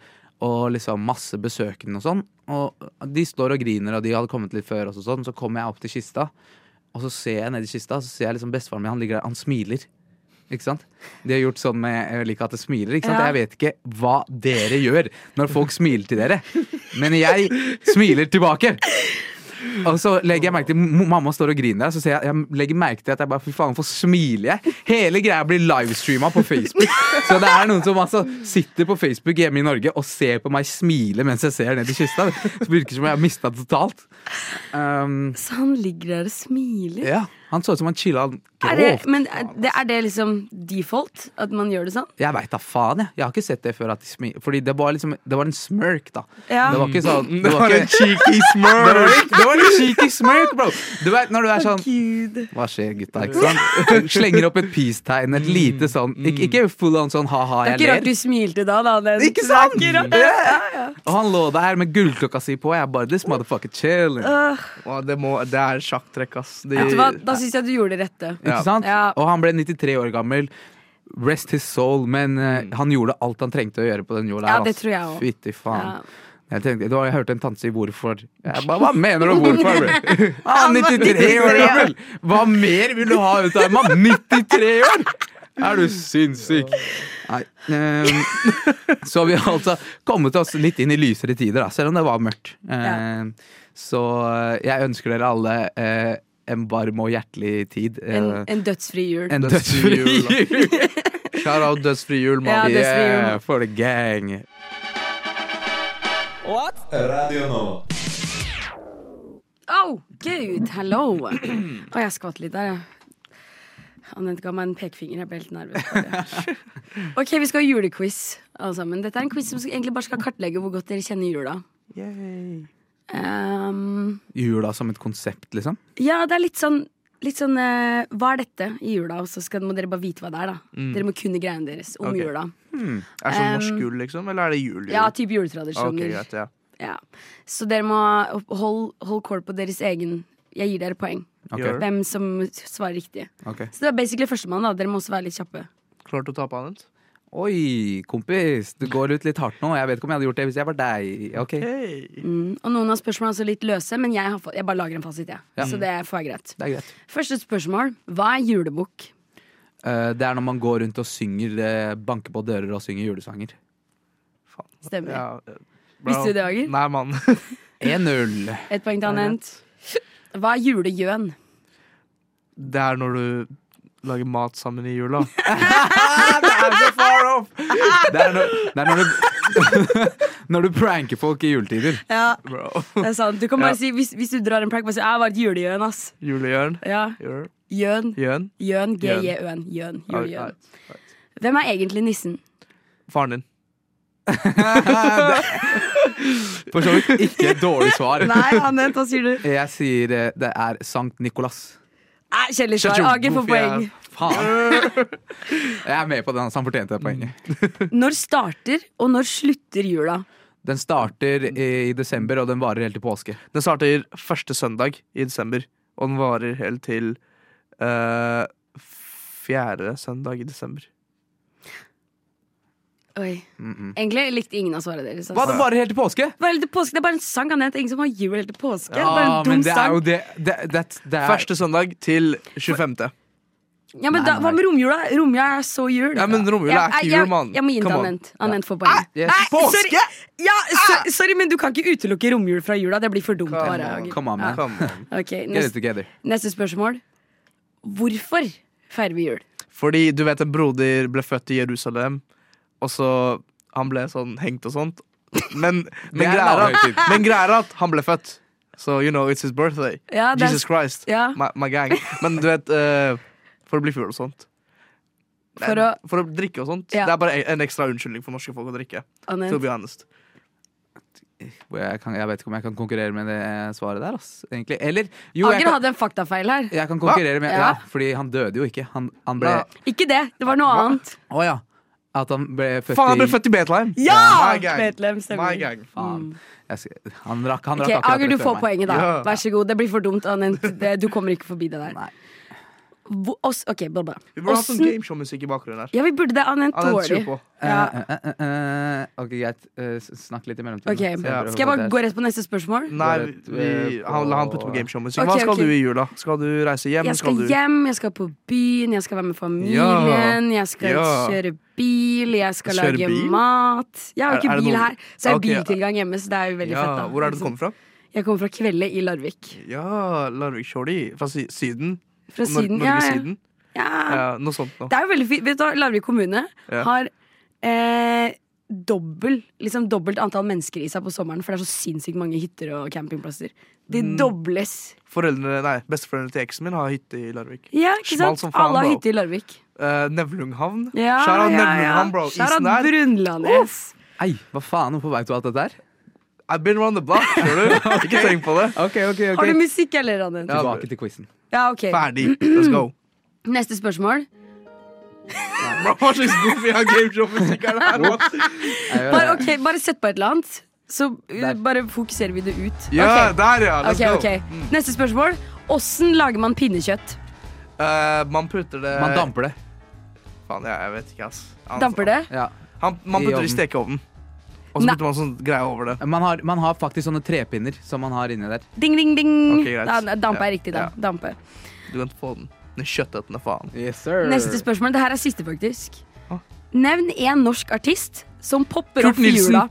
[SPEAKER 2] og liksom masse besøkende og sånn. Og de står og griner, og de hadde kommet litt før oss og sånn. Så kommer jeg opp til kista, og så ser jeg ned i kista, så ser jeg liksom bestefaren min, han ligger der, han smiler. Ikke sant? De har gjort sånn med Jeg liker at det smiler. Ikke sant?
[SPEAKER 3] Ja.
[SPEAKER 2] Jeg vet ikke hva dere gjør når folk smiler til dere, men jeg smiler tilbake. Og så legger jeg merke til m- Mamma står og griner, så ser jeg, jeg legger merke til at jeg bare Fy faen, hvorfor smiler jeg? Hele greia blir livestreama på Facebook. Så det er noen som altså sitter på Facebook hjemme i Norge og ser på meg smile mens jeg ser ned i kista. Det virker som jeg har mista det totalt. Um,
[SPEAKER 3] Så han ligger der og smiler?
[SPEAKER 2] ja, han så ut som han chilla
[SPEAKER 3] Er det,
[SPEAKER 2] grovt.
[SPEAKER 3] men er det, er det liksom default? At man gjør det sånn?
[SPEAKER 2] Jeg veit da faen, jeg. Jeg har ikke sett det før. At de smi fordi det var liksom Det var en smirk, da.
[SPEAKER 3] Ja.
[SPEAKER 2] Det var ikke sånn
[SPEAKER 4] Det var en cheeky
[SPEAKER 2] det var,
[SPEAKER 4] smurf!
[SPEAKER 2] det var en cheeky smirk, bro! Du vet når du er sånn
[SPEAKER 3] Gud.
[SPEAKER 2] Hva skjer, gutta? Ikke sant? Slenger opp et peace-tegn, et lite sånn ikke, ikke full on sånn
[SPEAKER 3] Mm,
[SPEAKER 2] ha-ha,
[SPEAKER 3] Det er
[SPEAKER 2] jeg
[SPEAKER 3] ikke rart
[SPEAKER 2] ler.
[SPEAKER 3] du smilte da. da den.
[SPEAKER 2] Ikke sant?
[SPEAKER 3] Det er ikke rart.
[SPEAKER 2] Og han lå der med gullklokka si på, og jeg bare This motherfucker chilling.
[SPEAKER 3] Øh,
[SPEAKER 4] Å, det, må, det er sjakktrekk, ass. De,
[SPEAKER 3] vet du hva? Da syns jeg du gjorde det rette.
[SPEAKER 2] Ikke sant?
[SPEAKER 3] Ja.
[SPEAKER 2] Og han ble 93 år gammel. Rest his soul. Men eh, han gjorde alt han trengte å gjøre på den jorda.
[SPEAKER 3] Mm. Ja,
[SPEAKER 2] her,
[SPEAKER 3] det
[SPEAKER 2] ass.
[SPEAKER 3] tror jeg også.
[SPEAKER 2] Fytti faen.
[SPEAKER 3] Ja.
[SPEAKER 2] Jeg, tenkte, det var, jeg hørte en tante si 'hvorfor'. Jeg bare, Hva mener du om hvorfor? bro? Han er 93 år gammel! Hva mer vil du ha ut av en mann? 93 år! Er du sinnssyk? Nei. ehm, så vi har altså kommet oss litt inn i lysere tider, da, selv om det var mørkt. Ehm, Så eh, jeg ønsker dere alle eh, en varm og hjertelig tid. eh,
[SPEAKER 3] En, en dødsfri jul.
[SPEAKER 2] en dødsfri
[SPEAKER 4] Dødsfri jul, da.
[SPEAKER 2] jul!
[SPEAKER 4] Shout out dødsfri jul, mann.
[SPEAKER 3] Ja, dødsfri jul.
[SPEAKER 2] Yeah, for the gang.
[SPEAKER 5] Radio Nova.
[SPEAKER 3] Au! Gud, hello! Å, jeg skvatt litt der, ja. Anette ga meg en pekefinger. Jeg ble helt nervøs. bare. Ok, Vi skal ha julequiz, alle sammen. Dette er en quiz som egentlig bare skal kartlegge hvor godt dere kjenner jula. Ehm,
[SPEAKER 2] Jula som et konsept, liksom.
[SPEAKER 3] ja, det er litt sånn, litt sånn eh, Hva er dette i jula? Og så skal, må dere bare vite hva det er. da Dere må kunne greiene deres om
[SPEAKER 4] Mm. Ok.
[SPEAKER 3] jula.
[SPEAKER 4] Er det sånn
[SPEAKER 3] Um,
[SPEAKER 4] norsk jul, liksom? Eller er det jul? jul?
[SPEAKER 3] Ja, type
[SPEAKER 4] Ok,
[SPEAKER 3] juletradisjoner.
[SPEAKER 4] greit, ja.
[SPEAKER 3] Ja. Så dere må hold, hold kål på deres egen Jeg gir dere poeng.
[SPEAKER 2] Ok,
[SPEAKER 4] Gjør
[SPEAKER 3] Hvem som svarer riktig.
[SPEAKER 2] ok.
[SPEAKER 3] Så det er basically førstemann. da Dere må også være litt kjappe.
[SPEAKER 4] Klart å tape, Anent?
[SPEAKER 2] Oi, kompis, du går ut litt hardt nå. Jeg vet ikke om jeg hadde gjort det hvis jeg var deg. Ok,
[SPEAKER 4] Hey.
[SPEAKER 3] Mm. Og noen av spørsmålene er også litt løse, men jeg, har, fa- jeg bare lager en fasit. Jeg. Så det får jeg greit.
[SPEAKER 2] Det er greit.
[SPEAKER 3] Første spørsmål. Hva er julebukk?
[SPEAKER 2] Eh, det er når man går rundt og synger, eh, banker på dører og synger julesanger.
[SPEAKER 3] Stemmer.
[SPEAKER 4] Ja, eh, bra.
[SPEAKER 3] Visste du det, Ager?
[SPEAKER 4] Nei, mann.
[SPEAKER 2] 1-0.
[SPEAKER 3] Et poeng til Anent. Hva er julegjøn?
[SPEAKER 4] Det er når du lager mat sammen i jula.
[SPEAKER 2] Det er så far off! Det er når, det er når du Når du pranker folk i juletider.
[SPEAKER 3] Ja,
[SPEAKER 4] Bro.
[SPEAKER 3] det er sant. Du kan bare
[SPEAKER 4] Ja.
[SPEAKER 3] si, hvis, hvis du drar en prank, bare si "Ah, 'jeg var et julegjøn', ass.
[SPEAKER 4] Julegjørn.
[SPEAKER 3] Ja.
[SPEAKER 4] Gjør-
[SPEAKER 3] Gjøn.
[SPEAKER 4] Gjørn.
[SPEAKER 3] Gjøn. G-j-ø-n. Gjøn.
[SPEAKER 4] All
[SPEAKER 3] Julegjøn.
[SPEAKER 4] right.
[SPEAKER 3] Hvem er egentlig nissen?
[SPEAKER 4] Faren din.
[SPEAKER 2] For så vidt ikke et dårlig svar.
[SPEAKER 3] Nei, Anent, hva sier du?
[SPEAKER 2] Jeg sier eh, det er Sankt Nikolas.
[SPEAKER 3] Nei, Kjedelig svar.
[SPEAKER 4] Kjell,
[SPEAKER 3] Ager får
[SPEAKER 4] hvorfor jeg-
[SPEAKER 3] poeng.
[SPEAKER 2] Faen. Jeg er med på den, så han fortjente det poenget.
[SPEAKER 3] Når starter og når slutter jula?
[SPEAKER 2] Den starter i desember, og den varer helt til påske.
[SPEAKER 4] Den starter første søndag i desember, og den varer helt til eh, fjerde søndag i desember.
[SPEAKER 3] Oi.
[SPEAKER 2] Mm -mm.
[SPEAKER 3] Egentlig likte ingen av svarene deres.
[SPEAKER 2] Hva,
[SPEAKER 3] Altså.
[SPEAKER 2] den varer helt til påske?!
[SPEAKER 3] Bare helt til påske, det er bare en sang han heter. Ingen som har jul helt til påske. det er bare
[SPEAKER 2] Ja,
[SPEAKER 3] en
[SPEAKER 2] men
[SPEAKER 3] dum
[SPEAKER 2] det er jo
[SPEAKER 3] sang.
[SPEAKER 2] det, det, det, det er,
[SPEAKER 4] Første søndag til 25.
[SPEAKER 3] Ja, men da,
[SPEAKER 2] Nei,
[SPEAKER 3] hva med romjula? Romjula er så jul.
[SPEAKER 4] Ja, men romjula er ikke
[SPEAKER 3] jeg-
[SPEAKER 4] jul, mann.
[SPEAKER 3] Jeg, jeg må gi den
[SPEAKER 4] Come
[SPEAKER 3] til
[SPEAKER 4] on. Ah,
[SPEAKER 3] Anent. Anent får poeng.
[SPEAKER 2] Yes.
[SPEAKER 3] Nei, sorry.
[SPEAKER 4] Påske! Ah!
[SPEAKER 3] Ja, so, sorry, men du kan ikke utelukke romjul fra jula. Det blir for dumt.
[SPEAKER 4] Come
[SPEAKER 3] bare,
[SPEAKER 4] on,
[SPEAKER 3] Ager.
[SPEAKER 2] Come on, man.
[SPEAKER 4] Come on.
[SPEAKER 3] Ok,
[SPEAKER 2] Get it
[SPEAKER 3] neste,
[SPEAKER 2] together.
[SPEAKER 3] neste spørsmål. Hvorfor feirer vi jul?
[SPEAKER 4] Fordi du vet en broder ble født i Jerusalem, og så han ble sånn hengt og sånt. Men, men,
[SPEAKER 2] Det er en
[SPEAKER 4] greia, er
[SPEAKER 2] annen
[SPEAKER 4] at, men greia er at han ble født. So you know it's his birthday.
[SPEAKER 3] Ja, det er-
[SPEAKER 4] Jesus Christ.
[SPEAKER 3] Ja.
[SPEAKER 4] My, my gang. Men du vet, eh, for å bli full og sånt.
[SPEAKER 3] For å-
[SPEAKER 4] for å drikke og sånt.
[SPEAKER 3] Ja.
[SPEAKER 4] Det er bare en ekstra unnskyldning for norske folk å drikke. To
[SPEAKER 3] Anent.
[SPEAKER 4] be honest.
[SPEAKER 2] Jeg, kan, jeg vet ikke om jeg kan konkurrere med det eh, svaret der, ass. Egentlig. Eller jo, jeg
[SPEAKER 3] Ager
[SPEAKER 2] kan,
[SPEAKER 3] hadde en faktafeil her.
[SPEAKER 2] jeg kan konkurrere med
[SPEAKER 3] Ja.
[SPEAKER 2] Ja, fordi han døde jo ikke. Han, han ble
[SPEAKER 4] Ja.
[SPEAKER 3] Ikke det. Det var noe annet.
[SPEAKER 2] Å ja. At han ble født
[SPEAKER 4] Faen, han ble
[SPEAKER 2] i
[SPEAKER 4] født i Betlehem!
[SPEAKER 3] Ja!
[SPEAKER 4] My gang.
[SPEAKER 3] Betlehem, stemmer.
[SPEAKER 4] My gang.
[SPEAKER 2] Faen. Jeg skal, han rakk, han
[SPEAKER 3] Ok,
[SPEAKER 2] rakk akkurat
[SPEAKER 3] Ager, du
[SPEAKER 2] rett før
[SPEAKER 3] får
[SPEAKER 2] meg.
[SPEAKER 3] poenget, da.
[SPEAKER 4] Ja.
[SPEAKER 3] Vær så god. Det blir for dumt, Anent. Det, du kommer ikke forbi det der.
[SPEAKER 2] Nei.
[SPEAKER 3] Hvor- oss- ok, bla, bla.
[SPEAKER 4] Vi burde hatt sånn
[SPEAKER 3] Åssen-
[SPEAKER 4] gameshow-musikk i bakgrunnen her.
[SPEAKER 3] Ja, vi burde det. Anent
[SPEAKER 4] Annet
[SPEAKER 3] tåler.
[SPEAKER 4] skru på.
[SPEAKER 3] Ja.
[SPEAKER 2] Eh, eh, eh, eh. Ok, greit. Eh, s- snakk litt i mellomtiden.
[SPEAKER 3] Ok,
[SPEAKER 2] da. Så prøver å
[SPEAKER 3] Skal jeg
[SPEAKER 2] få
[SPEAKER 3] bare
[SPEAKER 2] det.
[SPEAKER 3] gå rett på neste spørsmål?
[SPEAKER 4] Nei,
[SPEAKER 2] Bare eh,
[SPEAKER 4] vi, vi-
[SPEAKER 2] på-
[SPEAKER 4] han, han putter på gameshow-musikk.
[SPEAKER 3] Ok,
[SPEAKER 4] Hva skal
[SPEAKER 3] ok.
[SPEAKER 4] du i jula? Skal du reise hjem?
[SPEAKER 3] Jeg skal
[SPEAKER 4] du...
[SPEAKER 3] hjem, jeg skal på byen, jeg skal være med familien, jeg skal
[SPEAKER 4] Ja.
[SPEAKER 3] kjøre bil, jeg skal
[SPEAKER 4] Kjøre
[SPEAKER 3] lage
[SPEAKER 4] bil?
[SPEAKER 3] mat. Jeg har
[SPEAKER 4] Er- er
[SPEAKER 3] ikke
[SPEAKER 4] det
[SPEAKER 3] bil
[SPEAKER 4] noe-
[SPEAKER 3] her, så jeg har
[SPEAKER 4] Ok.
[SPEAKER 3] biltilgang hjemme, så det er jo veldig
[SPEAKER 4] Ja,
[SPEAKER 3] fett. da
[SPEAKER 4] hvor er det du kommer fra?
[SPEAKER 3] Jeg kommer fra Kvelde i Larvik.
[SPEAKER 4] Ja, Larvik Shorty. Fra sy Syden?
[SPEAKER 3] Fra
[SPEAKER 4] Nor
[SPEAKER 3] Syden.
[SPEAKER 4] Norge
[SPEAKER 3] ja, ja.
[SPEAKER 4] Syden?
[SPEAKER 3] ja.
[SPEAKER 4] Ja, noe sånt noe.
[SPEAKER 3] Det er jo veldig fint. Vet du hva, Larvik kommune
[SPEAKER 4] Ja.
[SPEAKER 3] har eh, dobbel, liksom dobbelt antall mennesker i seg på sommeren, for det er så sinnssykt mange hytter og campingplasser. De
[SPEAKER 4] Mm.
[SPEAKER 3] dobles.
[SPEAKER 4] Foreldrene, nei, Besteforeldrene til eksen min har hytte i Larvik.
[SPEAKER 3] Ja, ikke sant?
[SPEAKER 4] Smalt som faen,
[SPEAKER 3] Alle har
[SPEAKER 4] bro.
[SPEAKER 3] hytte i Larvik.
[SPEAKER 4] Eh, Nevlunghavn.
[SPEAKER 3] Ja,
[SPEAKER 4] Skjæra
[SPEAKER 3] ja,
[SPEAKER 4] Nevlunghavn, bro.
[SPEAKER 3] ja. Shout
[SPEAKER 4] Isen
[SPEAKER 3] out
[SPEAKER 4] der.
[SPEAKER 3] Brunlandnes.
[SPEAKER 2] Ei, hva faen? Hvorfor veit du alt dette her?
[SPEAKER 4] I've been around the block, skjønner du. Ikke tenk på det.
[SPEAKER 2] Ok, ok, ok
[SPEAKER 3] Har du musikk, eller, Anne? Ja.
[SPEAKER 2] Tilbake til quizen.
[SPEAKER 3] ok.
[SPEAKER 4] Ferdig. Let's go.
[SPEAKER 3] Neste spørsmål.
[SPEAKER 4] Bro, Hva slags goofy har gameshow-musikk er det her? What?
[SPEAKER 3] Bare, ok, bare sett på et eller annet, så uh,
[SPEAKER 2] Der.
[SPEAKER 3] bare fokuserer vi det ut.
[SPEAKER 4] Ja,
[SPEAKER 3] Ok.
[SPEAKER 4] der, ja. Let's
[SPEAKER 3] Ok,
[SPEAKER 4] go. Mm.
[SPEAKER 3] ok. Neste spørsmål. Åssen lager man pinnekjøtt?
[SPEAKER 4] Eh, man putter det
[SPEAKER 2] Man damper det.
[SPEAKER 4] Faen, jeg, jeg vet ikke, ass. Han-
[SPEAKER 3] Damper det?
[SPEAKER 2] Ja.
[SPEAKER 4] Han, man
[SPEAKER 2] I
[SPEAKER 4] putter
[SPEAKER 2] ovnen.
[SPEAKER 4] det i stekeovnen. Og så
[SPEAKER 3] Nei.
[SPEAKER 4] putter man sånn greie over det.
[SPEAKER 2] Man, har, man har faktisk sånne trepinner som man har inni der.
[SPEAKER 3] Ding, ding, ding.
[SPEAKER 4] Ok, greit.
[SPEAKER 3] Da- Dampe er riktig, da.
[SPEAKER 4] Ja.
[SPEAKER 3] Dampe.
[SPEAKER 4] Du kan få den. Den kjøttetende faen.
[SPEAKER 2] Yes, sir.
[SPEAKER 3] Neste spørsmål. Det her er siste, faktisk.
[SPEAKER 4] Hå?
[SPEAKER 3] Nevn én norsk artist som popper
[SPEAKER 4] Kurt
[SPEAKER 3] opp i
[SPEAKER 4] Nilsen.
[SPEAKER 3] jula.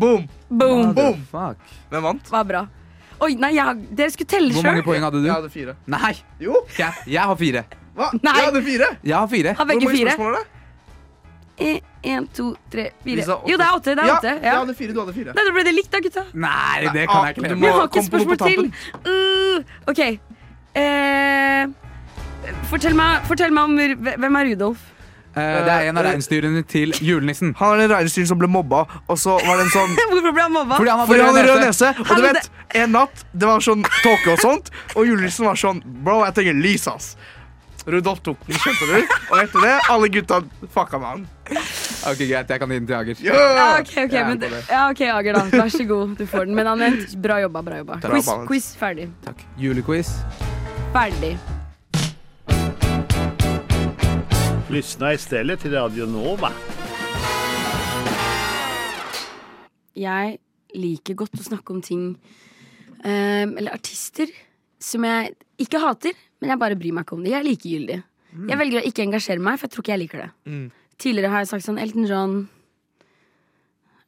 [SPEAKER 4] Boom!
[SPEAKER 3] Boom.
[SPEAKER 4] Boom.
[SPEAKER 2] Fuck.
[SPEAKER 4] Hvem vant?
[SPEAKER 3] Var bra. Oi, nei, jeg, har- dere skulle telle
[SPEAKER 2] Hvor mange
[SPEAKER 3] sjøl.
[SPEAKER 2] poeng hadde du?
[SPEAKER 4] Jeg hadde fire.
[SPEAKER 2] Nei!
[SPEAKER 4] Jo!
[SPEAKER 2] Jeg, jeg har fire.
[SPEAKER 4] Hva?
[SPEAKER 3] Nei.
[SPEAKER 4] Jeg hadde fire!
[SPEAKER 2] Jeg har fire.
[SPEAKER 3] Har
[SPEAKER 4] Hvor
[SPEAKER 3] begge
[SPEAKER 4] mange
[SPEAKER 3] fire.
[SPEAKER 4] spørsmål er det?
[SPEAKER 3] Én, to, tre, fire.
[SPEAKER 4] Lisa, åtte.
[SPEAKER 3] Jo, det er åtte. Det er
[SPEAKER 4] ja,
[SPEAKER 3] åtte.
[SPEAKER 4] Jeg
[SPEAKER 3] Ja.
[SPEAKER 4] hadde fire, du hadde fire.
[SPEAKER 3] Nei, da ble det likt, da, gutta.
[SPEAKER 2] Nei, det kan jeg ikke
[SPEAKER 4] Du
[SPEAKER 2] leve
[SPEAKER 4] må
[SPEAKER 2] med.
[SPEAKER 3] Jeg har ikke et
[SPEAKER 4] komme på noe
[SPEAKER 3] spørsmål
[SPEAKER 4] på
[SPEAKER 3] til. Uh, OK. Eh, fortell, meg, fortell meg om Ru- Hvem er Rudolf?
[SPEAKER 2] Eh, Det er en av reinsdyrene til julenissen.
[SPEAKER 4] Han er den reinstyren som ble mobba, og så var det en sånn
[SPEAKER 3] Hvorfor ble han mobba?
[SPEAKER 2] Fordi han har
[SPEAKER 4] Fordi han hadde
[SPEAKER 2] rød
[SPEAKER 4] rød nese, og du
[SPEAKER 3] Helvete.
[SPEAKER 4] vet, en natt det var sånn tåke og sånt, og julenissen var sånn Bro, jeg trenger lys, ass. Rudolf tok den, skjønte du? Og etter det, alle gutta fucka med han.
[SPEAKER 2] Ok, Greit, jeg kan gi den til Ager.
[SPEAKER 3] Ja,
[SPEAKER 4] Yeah!
[SPEAKER 3] Ah, ok, ok,
[SPEAKER 2] Jeg er
[SPEAKER 3] men,
[SPEAKER 2] på det.
[SPEAKER 3] ja, ok, Ager, da. Vær så god. Du får den. Men Anent, bra jobba. bra jobba
[SPEAKER 4] Bra
[SPEAKER 3] Quiz,
[SPEAKER 4] jobba, Anent.
[SPEAKER 3] quiz ferdig.
[SPEAKER 2] Takk. Julequiz.
[SPEAKER 3] Ferdig.
[SPEAKER 7] Lyssna istället till Radio Nova.
[SPEAKER 3] jeg liker godt å snakke om ting ehm, Eller artister som jeg ikke hater, men jeg bare bryr meg ikke om det. Jeg er likegyldig. Jeg velger å ikke engasjere meg, for jeg tror ikke jeg liker det.
[SPEAKER 4] Mm.
[SPEAKER 3] Tidligere har jeg sagt sånn Elton John,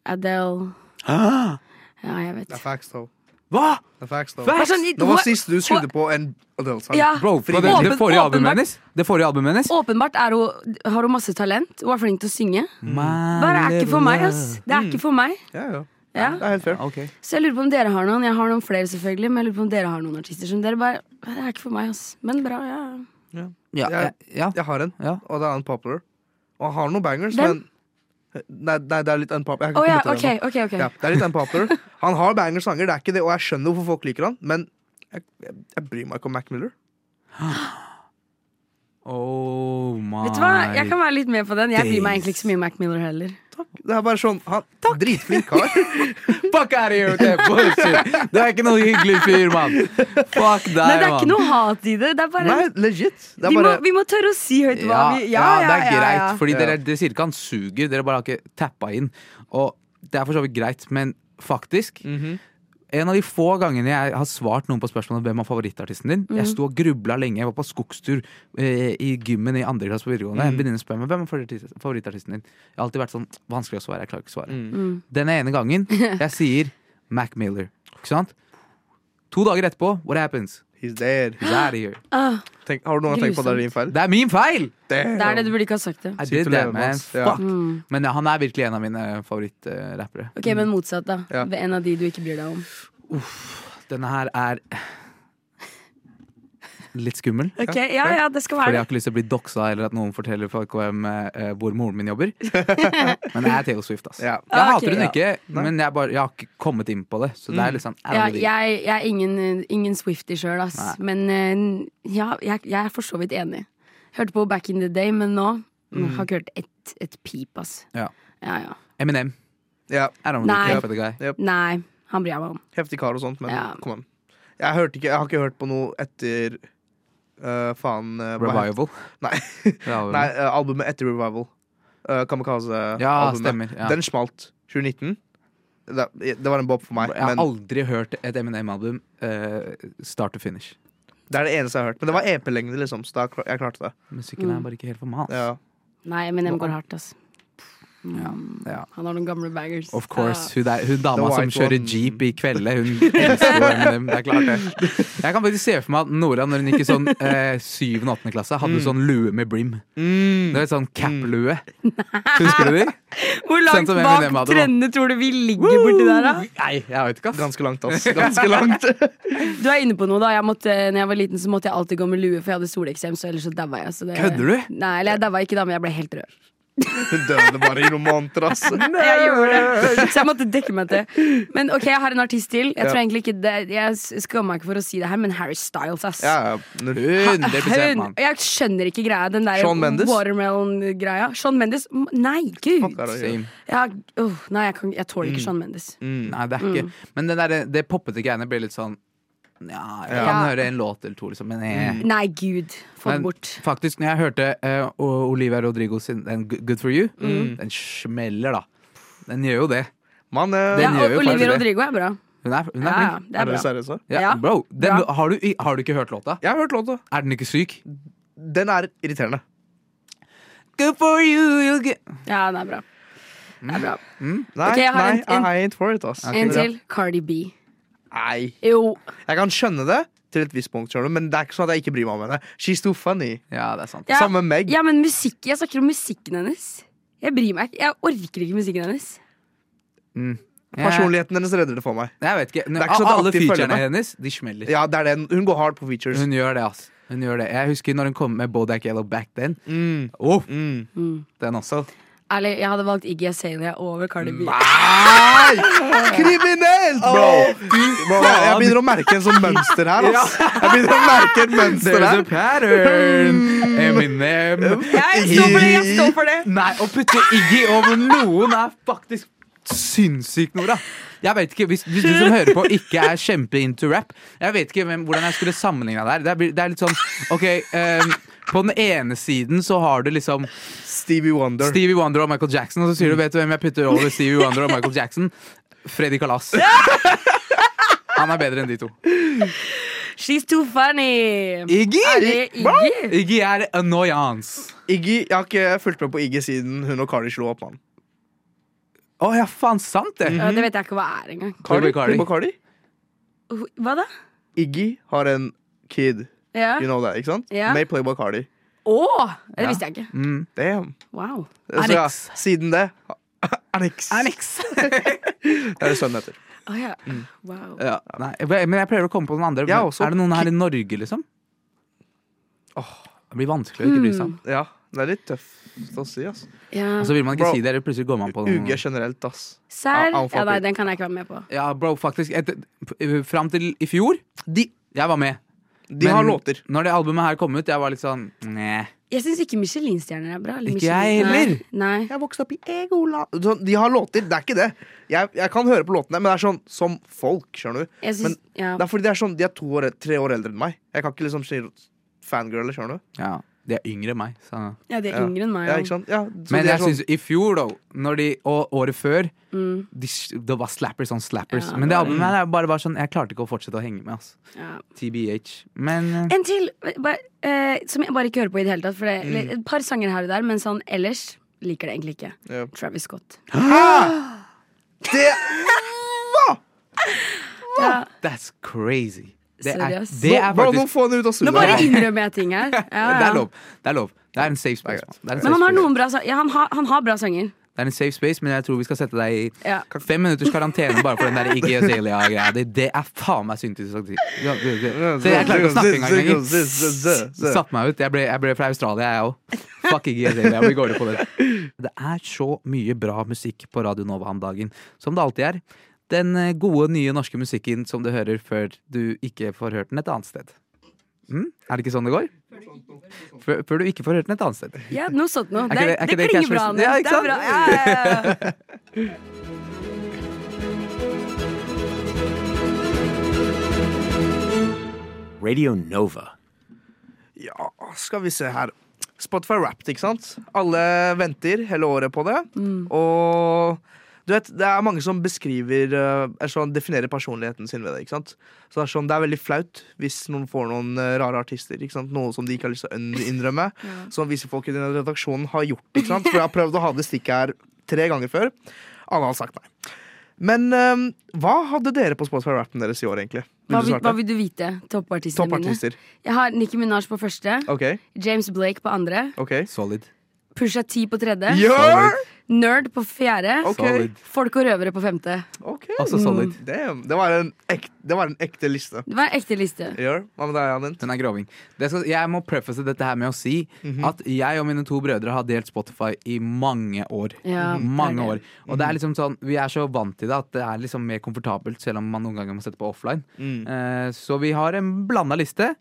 [SPEAKER 3] Adele Ja, jeg vet.
[SPEAKER 4] facts, though.
[SPEAKER 2] Hva?!
[SPEAKER 4] Det er facts, though.
[SPEAKER 3] Bare sånn,
[SPEAKER 4] Det var
[SPEAKER 3] hva-
[SPEAKER 4] sist du skrudde på en Adele-sang.
[SPEAKER 3] Ja.
[SPEAKER 2] Bro, på det,
[SPEAKER 3] Åpen-
[SPEAKER 2] det forrige albumet
[SPEAKER 3] åpenbart-
[SPEAKER 2] hennes Det forrige albumet hennes
[SPEAKER 3] Åpenbart er hun, har hun masse talent. Hun er flink til å synge. Bare er ikke for meg, ass. Det er ikke for meg.
[SPEAKER 4] Ja, Mm. ja.
[SPEAKER 3] Ja.
[SPEAKER 4] Det er helt fair.
[SPEAKER 2] Ok
[SPEAKER 3] Så jeg lurer på om dere har noen. Jeg har noen flere, selvfølgelig. Men jeg lurer på om dere har noen artister som dere bare Det er ikke for meg, ass. Men bra, ja.
[SPEAKER 2] Ja,
[SPEAKER 4] Jeg-
[SPEAKER 2] eh, ja.
[SPEAKER 4] Jeg har en,
[SPEAKER 2] Ja.
[SPEAKER 4] og det er unpopular. Og jeg har noen bangers,
[SPEAKER 3] Hvem?
[SPEAKER 4] men nei, nei, det er litt unpopular. Jeg
[SPEAKER 3] Å
[SPEAKER 4] kan
[SPEAKER 3] ja,
[SPEAKER 4] ikke komme
[SPEAKER 3] ok,
[SPEAKER 4] til det nå.
[SPEAKER 3] ok. ok
[SPEAKER 4] Ja, det er litt unpopular. Han har bangers-sanger, det er ikke det, og jeg skjønner hvorfor folk liker han, men jeg, jeg, jeg bryr meg ikke om Mac Miller.
[SPEAKER 2] Oh my
[SPEAKER 3] Vet du hva, Jeg kan være litt med på den. Jeg bryr meg
[SPEAKER 2] Days.
[SPEAKER 3] egentlig ikke så mye om Mac Miller heller.
[SPEAKER 4] Det er bare sånn han, Dritflink kar.
[SPEAKER 2] Fuck out of here with that bullshit! Det er ikke noe hyggelig fyr, mann. Fuck deg,
[SPEAKER 3] Nei, det er ikke
[SPEAKER 2] mann.
[SPEAKER 3] noe hat i det. Det er bare,
[SPEAKER 4] Nei, legit. Det er
[SPEAKER 3] vi, må,
[SPEAKER 4] bare
[SPEAKER 3] vi må tørre å si høyt hva
[SPEAKER 2] Ja,
[SPEAKER 3] vi
[SPEAKER 2] ja, det er greit,
[SPEAKER 3] ja.
[SPEAKER 2] fordi
[SPEAKER 4] Ja.
[SPEAKER 2] dere, dere sier ikke han suger, dere bare har ikke tappa inn. Og det er for så vidt greit, men faktisk
[SPEAKER 4] Mm-hmm,
[SPEAKER 2] En av de få gangene jeg har svart noen på spørsmålet om hvem er favorittartisten din Jeg sto og grubla lenge, jeg var på skogstur eh, i gymmen i andre klasse på videregående. En venninne spør meg hvem er favorittartist- favorittartisten din. Jeg har alltid vært sånn vanskelig å svare, jeg klarer ikke å svare.
[SPEAKER 4] Mm. mm-hmm.
[SPEAKER 2] Den ene gangen jeg sier Mac Miller, ikke sant? To dager etterpå, what happens?
[SPEAKER 4] He's dead.
[SPEAKER 2] He's out of here.
[SPEAKER 4] Tenk, har du noen gang tenkt på at det er din feil?
[SPEAKER 2] Det er min feil!
[SPEAKER 3] Ah, Det er det du burde ikke ha sagt det. Mm.
[SPEAKER 2] I
[SPEAKER 4] Sykt
[SPEAKER 2] did
[SPEAKER 4] å
[SPEAKER 2] that,
[SPEAKER 4] leve med,
[SPEAKER 2] man.
[SPEAKER 4] ass. Ja.
[SPEAKER 2] Fuck. Men ja, han er virkelig en av mine favorittrappere.
[SPEAKER 3] Ok, Men motsatt, da.
[SPEAKER 4] Ja.
[SPEAKER 3] Ved En av de du ikke bryr deg om.
[SPEAKER 2] Denne her er litt skummel.
[SPEAKER 3] Ok, Ja, ja, det skal
[SPEAKER 2] Fordi jeg
[SPEAKER 3] være
[SPEAKER 2] har
[SPEAKER 3] det.
[SPEAKER 2] ikke lyst til å bli doxa eller at noen forteller folk hvem, eh, hvor moren min jobber. Men jeg er Taylor Swift, ass.
[SPEAKER 4] Ja.
[SPEAKER 2] Jeg
[SPEAKER 3] Ah, ok,
[SPEAKER 2] hater hun
[SPEAKER 3] ja. Mm.
[SPEAKER 2] ikke, men jeg, bare, jeg har ikke kommet inn på det. Så det er liksom
[SPEAKER 3] Ja, jeg, jeg er ingen, ingen Swifty sjøl, ass. Men eh, ja, jeg, jeg er for så vidt enig. Hørte på Back in the Day, men nå mm. har ikke hørt et, et pip, ass.
[SPEAKER 2] Ja.
[SPEAKER 3] Ja, ja.
[SPEAKER 2] Eminem.
[SPEAKER 4] Ja,
[SPEAKER 2] I don't
[SPEAKER 3] Nei.
[SPEAKER 2] really care for the guy.
[SPEAKER 3] Nei, han bryr jeg meg om.
[SPEAKER 4] heftig kar og sånt, men
[SPEAKER 3] Ja.
[SPEAKER 4] kom an. Jeg, hørte ikke, jeg har ikke hørt på noe etter øh, faen øh, hva het-
[SPEAKER 2] Revival.
[SPEAKER 4] Nei,
[SPEAKER 2] Det er albumet.
[SPEAKER 4] Nei øh, albumet etter Revival. Øh, Kamikaze-albumet.
[SPEAKER 2] Ja, stemmer. Ja.
[SPEAKER 4] Den smalt. 2019. Det, det var en bob for meg.
[SPEAKER 2] Jeg har
[SPEAKER 4] Men
[SPEAKER 2] aldri hørt et Eminem-album eh, start to finish.
[SPEAKER 4] det er det eneste jeg har hørt. Men det var EP-lengde, liksom, så da, kla- jeg klarte det.
[SPEAKER 2] Musikken
[SPEAKER 3] Mm.
[SPEAKER 2] er bare ikke helt for meg. ass.
[SPEAKER 4] Ja.
[SPEAKER 3] Nei, men dem går hardt, ass.
[SPEAKER 2] Ja.
[SPEAKER 3] Han har noen gamle bangers.
[SPEAKER 2] Of course. Hun, der, hun dama
[SPEAKER 4] The
[SPEAKER 2] som
[SPEAKER 4] white
[SPEAKER 2] kjører
[SPEAKER 4] one.
[SPEAKER 2] jeep i kvelde, hun elsker jo Eminem. Det er klart, det. Jeg kan faktisk se for meg at Nora, når hun gikk i sånn eh, 7. og 8. klasse, hadde
[SPEAKER 4] Mm.
[SPEAKER 2] sånn lue med brim. Det var et sånn cap-lue. Husker du de?
[SPEAKER 3] Hvor
[SPEAKER 2] Sånn
[SPEAKER 3] langt
[SPEAKER 2] som
[SPEAKER 3] bak
[SPEAKER 2] Eminem hadde, da.
[SPEAKER 3] trendene tror du vi ligger borti der, da?
[SPEAKER 2] Nei, jeg vet ikke, ass.
[SPEAKER 4] Ganske langt, ass. Ganske langt.
[SPEAKER 3] Du er inne på noe, da. Jeg måtte, når jeg var liten, så måtte jeg alltid gå med lue, for jeg hadde soleksem, så ellers så daua jeg. Så det,
[SPEAKER 2] Kødder du?
[SPEAKER 3] Nei, eller jeg daua ikke da, men jeg ble helt rød.
[SPEAKER 4] Hun døde bare i altså. noen måneder, ass.
[SPEAKER 3] Jeg gjorde det. Så jeg måtte dekke meg til. Men ok, jeg har en artist til. Jeg tror egentlig ikke det Jeg skammer meg ikke for å si det her, men Harry Styles, ass.
[SPEAKER 4] Ja, ja. Når-
[SPEAKER 2] 100
[SPEAKER 3] Hun,
[SPEAKER 2] mann.
[SPEAKER 3] jeg skjønner ikke greia. Den der
[SPEAKER 4] Shawn Mendes?
[SPEAKER 3] watermelon-greia. Shawn Mendes? M- Nei, gud!
[SPEAKER 4] Fuck, er det å gjøre?
[SPEAKER 2] Same.
[SPEAKER 3] Jeg, åh, nei, jeg, kan, jeg tåler ikke Shawn Mendes.
[SPEAKER 4] Mm.
[SPEAKER 2] Nei, det er
[SPEAKER 3] Mm.
[SPEAKER 2] ikke Men det, der, det poppete greiene blir litt sånn Ja, jeg kan
[SPEAKER 3] Ja.
[SPEAKER 2] høre en låt eller to, liksom, men jeg
[SPEAKER 3] Nei, gud. Få det
[SPEAKER 2] Men
[SPEAKER 3] bort.
[SPEAKER 2] faktisk, når jeg hørte eh, O- Olivia Rodrigo sin den G- Good For You,
[SPEAKER 3] Mm.
[SPEAKER 2] den smeller, da. Den gjør jo det.
[SPEAKER 4] Mann, eh,
[SPEAKER 2] Den
[SPEAKER 3] Ja,
[SPEAKER 2] gjør
[SPEAKER 3] og
[SPEAKER 2] jo faktisk
[SPEAKER 3] Olivia
[SPEAKER 2] det.
[SPEAKER 3] Rodrigo er bra.
[SPEAKER 2] Hun er, hun er
[SPEAKER 3] Ja, ja,
[SPEAKER 2] flink.
[SPEAKER 3] det
[SPEAKER 4] er
[SPEAKER 3] er
[SPEAKER 4] dere
[SPEAKER 3] bra.
[SPEAKER 4] seriøse?
[SPEAKER 2] Ja,
[SPEAKER 3] Ja,
[SPEAKER 2] bro, den,
[SPEAKER 3] bra.
[SPEAKER 2] har, du, i- har du ikke hørt låta?
[SPEAKER 4] Jeg har hørt låta.
[SPEAKER 2] Er den ikke syk?
[SPEAKER 4] Den er irriterende.
[SPEAKER 2] Good for you, you get
[SPEAKER 3] Ja, den er bra. Det er bra.
[SPEAKER 4] Nei,
[SPEAKER 3] Ok, jeg har
[SPEAKER 4] nei,
[SPEAKER 3] en- en-
[SPEAKER 4] I ain't for it, ass.
[SPEAKER 3] En til. Cardi B.
[SPEAKER 4] Nei.
[SPEAKER 3] Jo.
[SPEAKER 4] Jeg kan skjønne det til et visst punkt, skjønner du, men det er ikke sånn at jeg ikke bryr meg om henne. She's too funny.
[SPEAKER 2] Ja, det er sant.
[SPEAKER 3] Ja.
[SPEAKER 4] Samme Meg.
[SPEAKER 3] Ja, men musikk, Jeg snakker om musikken hennes. Jeg bryr meg ikke. Jeg orker ikke musikken hennes.
[SPEAKER 2] Jeg,
[SPEAKER 4] Personligheten hennes redder det for meg.
[SPEAKER 2] jeg vet ikke.
[SPEAKER 4] er ikke sånn at
[SPEAKER 2] alle
[SPEAKER 4] det alltid følger
[SPEAKER 2] featurene
[SPEAKER 4] med.
[SPEAKER 2] hennes, de smeller.
[SPEAKER 4] Ja, det er den. Hun går hard på features.
[SPEAKER 2] Hun gjør det, ass. Hun gjør det. Jeg husker når hun kom med Bodak Yellow back then.
[SPEAKER 4] Mm.
[SPEAKER 2] Oh,
[SPEAKER 4] Mm.
[SPEAKER 2] den også.
[SPEAKER 3] Ærlig, Jeg hadde valgt Iggy Azalea over Cardi B.
[SPEAKER 4] Nei! Kriminelt, bro! bro jeg, jeg begynner å merke en sånn mønster her, ass. Jeg begynner å merke et mønster
[SPEAKER 2] There's a
[SPEAKER 4] her.
[SPEAKER 2] pattern! Eminem.
[SPEAKER 3] Jeg står for det! jeg står for det
[SPEAKER 2] Nei, å putte Iggy over noen er faktisk sinnssykt, Nora. Jeg vet ikke, Hvis, hvis du som hører på, ikke er kjempeinto rap Jeg vet ikke hvem, hvordan jeg skulle sammenligna det her. Det er, blir- det er litt sånn OK ehm, På den ene siden så har du liksom
[SPEAKER 4] Stevie Wonder.
[SPEAKER 2] Stevie Wonder og Michael Jackson, og så sier du vet du hvem jeg putter over Stevie Wonder og Michael Jackson? Freddy Kalas. Han er bedre enn de to.
[SPEAKER 3] She's too funny!
[SPEAKER 2] Iggy!
[SPEAKER 3] Er det Iggy?
[SPEAKER 2] Iggy er annoyance.
[SPEAKER 4] Iggy, Jeg har ikke fulgt med på Iggy siden hun og Cardi slo opp, mann.
[SPEAKER 2] Å ja, faen sant det!
[SPEAKER 3] Ja, det vet jeg ikke hva er engang.
[SPEAKER 2] Mhm. Cardi, Cardi.
[SPEAKER 4] Playboy Cardi?
[SPEAKER 3] Oh, Hva da?
[SPEAKER 4] Iggy har en kid.
[SPEAKER 3] Ja.
[SPEAKER 4] You know that, ikke sant?
[SPEAKER 3] Ja.
[SPEAKER 4] Med Playboy Cardi.
[SPEAKER 3] Å! Det visste jeg ikke.
[SPEAKER 2] Mm.
[SPEAKER 4] Damn.
[SPEAKER 3] Wow.
[SPEAKER 4] Så, ja,
[SPEAKER 2] Annex.
[SPEAKER 4] siden det Annex. Det er det sønnen heter.
[SPEAKER 3] Å ja. wow.
[SPEAKER 2] Ja, nei, jeg- men jeg prøver å komme på noen andre.
[SPEAKER 4] Jeg også.
[SPEAKER 2] Er det noen her i Norge, liksom? det blir vanskelig å ikke bry seg om.
[SPEAKER 4] Ja, det er litt tøft å si, ass.
[SPEAKER 3] Ja.
[SPEAKER 2] Og så vil man ikke
[SPEAKER 4] Bro.
[SPEAKER 2] si det, eller plutselig går man på
[SPEAKER 4] UG
[SPEAKER 2] noen
[SPEAKER 4] generelt, ass.
[SPEAKER 3] Serr?
[SPEAKER 4] Ja, han får
[SPEAKER 3] Ja, nei,
[SPEAKER 4] ikke-
[SPEAKER 3] den kan jeg ikke være med på.
[SPEAKER 2] Ja, bro, faktisk. Et, p- fram til i fjor, de Jeg var med.
[SPEAKER 4] De har
[SPEAKER 2] Men
[SPEAKER 4] låter.
[SPEAKER 2] Når det albumet her kom ut, jeg var litt sånn Nei.
[SPEAKER 3] Jeg syns ikke Michelin-stjerner er bra. eller
[SPEAKER 2] Ikke
[SPEAKER 3] Michelin-
[SPEAKER 2] jeg heller.
[SPEAKER 3] Nei. Nei.
[SPEAKER 4] Jeg vokste opp i Egola Så De har låter, det er ikke det. Jeg, jeg kan høre på låtene, men det er sånn som folk. skjønner du
[SPEAKER 3] Jeg syns, ja.
[SPEAKER 4] Det er fordi de er, sånn, de er to år, tre år eldre enn meg. Jeg kan ikke liksom si fangirl, skjønner du.
[SPEAKER 2] Ja, de er yngre enn meg. Så.
[SPEAKER 3] ja, de er
[SPEAKER 4] Ja.
[SPEAKER 3] yngre enn meg.
[SPEAKER 4] Ja,
[SPEAKER 3] ja.
[SPEAKER 4] ikke sant? Ja, så
[SPEAKER 2] Men
[SPEAKER 4] de er
[SPEAKER 2] jeg
[SPEAKER 4] sånn,
[SPEAKER 2] synes i fjor, da, når de, og året før,
[SPEAKER 3] Mm,
[SPEAKER 2] de, det var slappers on slappers.
[SPEAKER 3] Ja,
[SPEAKER 2] Men det
[SPEAKER 3] det var
[SPEAKER 2] albumet her er bare var sånn Jeg klarte ikke å fortsette å henge med. Altså.
[SPEAKER 3] ja.
[SPEAKER 2] TBH. Men eh,
[SPEAKER 3] En til, bare, eh, som jeg bare ikke hører på i det hele tatt. For det,
[SPEAKER 2] Mm.
[SPEAKER 3] eller, et par sanger her og der, men sånn ellers liker det egentlig ikke.
[SPEAKER 4] Ja.
[SPEAKER 3] Travis Scott.
[SPEAKER 4] det,
[SPEAKER 3] Ja.
[SPEAKER 2] that's crazy. Det er,
[SPEAKER 3] Seriøst?
[SPEAKER 2] det er
[SPEAKER 4] Bro, nå
[SPEAKER 2] faktisk
[SPEAKER 4] få henne ut av
[SPEAKER 3] Nå
[SPEAKER 4] studio.
[SPEAKER 3] bare innrømmer jeg ting her. Ja,
[SPEAKER 2] Det er
[SPEAKER 3] ja.
[SPEAKER 2] lov. Det er lov Det er en safe space.
[SPEAKER 4] greit.
[SPEAKER 2] Det er en
[SPEAKER 3] Men
[SPEAKER 2] safe
[SPEAKER 3] han har
[SPEAKER 2] space.
[SPEAKER 3] noen bra sanger. Ja, han, har, han har bra sanger.
[SPEAKER 2] Det er en safe space, men jeg tror vi skal sette deg i
[SPEAKER 3] Ja.
[SPEAKER 2] fem minutters karantene bare for den der Iggy Azalea-greia. Det, det er faen meg syntes. Det, det, jeg klarer ikke å snakke engang lenger. Satt meg ut. Jeg ble, jeg ble fra Australia, jeg òg. Fuck Iggy Azalea. Vi går det på det. Det er så mye bra musikk på Radio Nova om dagen, som det alltid er. Den eh, gode, nye norske musikken som du hører før du ikke får hørt den et annet sted. Mm? Er det ikke sånn det går? Før, før du ikke får hørt den et annet sted.
[SPEAKER 3] Ja, noe sånt noe.
[SPEAKER 2] Er ikke
[SPEAKER 3] Det,
[SPEAKER 2] det- er
[SPEAKER 3] det,
[SPEAKER 2] ikke det
[SPEAKER 3] klinger
[SPEAKER 2] Cash
[SPEAKER 3] bra.
[SPEAKER 2] Rosen-
[SPEAKER 3] nå.
[SPEAKER 2] Ja, ikke
[SPEAKER 3] det er bra. Ja, ja,
[SPEAKER 2] sant?
[SPEAKER 3] ja.
[SPEAKER 8] Radio Nova.
[SPEAKER 4] Ja, skal vi se her. Spotify Wrapped, ikke sant? Alle venter hele året på det.
[SPEAKER 3] Mm.
[SPEAKER 4] Og du vet, det er mange som beskriver eh, er sånn, definerer personligheten sin ved det. ikke sant? Så Det er sånn, det er veldig flaut hvis noen får noen eh, rare artister. ikke sant? Noe som de ikke har lyst til å inn- innrømme. Som visse folk i denne redaksjonen har gjort. ikke sant? For jeg har prøvd å ha det stikket her tre ganger før. Alle har sagt nei. Men eh, hva hadde dere på Spotify Wrappen deres i år, egentlig?
[SPEAKER 3] Hva,
[SPEAKER 4] Vil du
[SPEAKER 3] vil, hva
[SPEAKER 4] starte?
[SPEAKER 3] vil du vite? Toppartistene mine.
[SPEAKER 4] Toppartister.
[SPEAKER 3] Jeg har Nicki Minaj på første.
[SPEAKER 4] OK.
[SPEAKER 3] James Blake på andre.
[SPEAKER 4] ok.
[SPEAKER 2] Solid.
[SPEAKER 3] Pusha T på tredje.
[SPEAKER 4] Ja!
[SPEAKER 3] Nerd på fjerde.
[SPEAKER 4] Ok.
[SPEAKER 2] Solid.
[SPEAKER 3] Folk og røvere på femte.
[SPEAKER 4] Ok. mm,
[SPEAKER 2] Også solid.
[SPEAKER 4] Damn, det, var en ekte, det var en ekte liste.
[SPEAKER 3] Det var en ekte liste.
[SPEAKER 4] Gjør. Hva med deg, Anent?
[SPEAKER 2] Den er groving. Det skal, jeg må preface dette her med å si
[SPEAKER 4] Mhm.
[SPEAKER 2] at jeg og mine to brødre har delt Spotify i mange år.
[SPEAKER 3] Ja, det er
[SPEAKER 2] Mm, mange
[SPEAKER 3] det.
[SPEAKER 2] år. Og
[SPEAKER 4] Mhm.
[SPEAKER 2] det er liksom sånn, vi er så vant til det at det er liksom mer komfortabelt, selv om man noen ganger må sette på offline.
[SPEAKER 4] Mhm.
[SPEAKER 2] Eh, så vi har en blanda liste.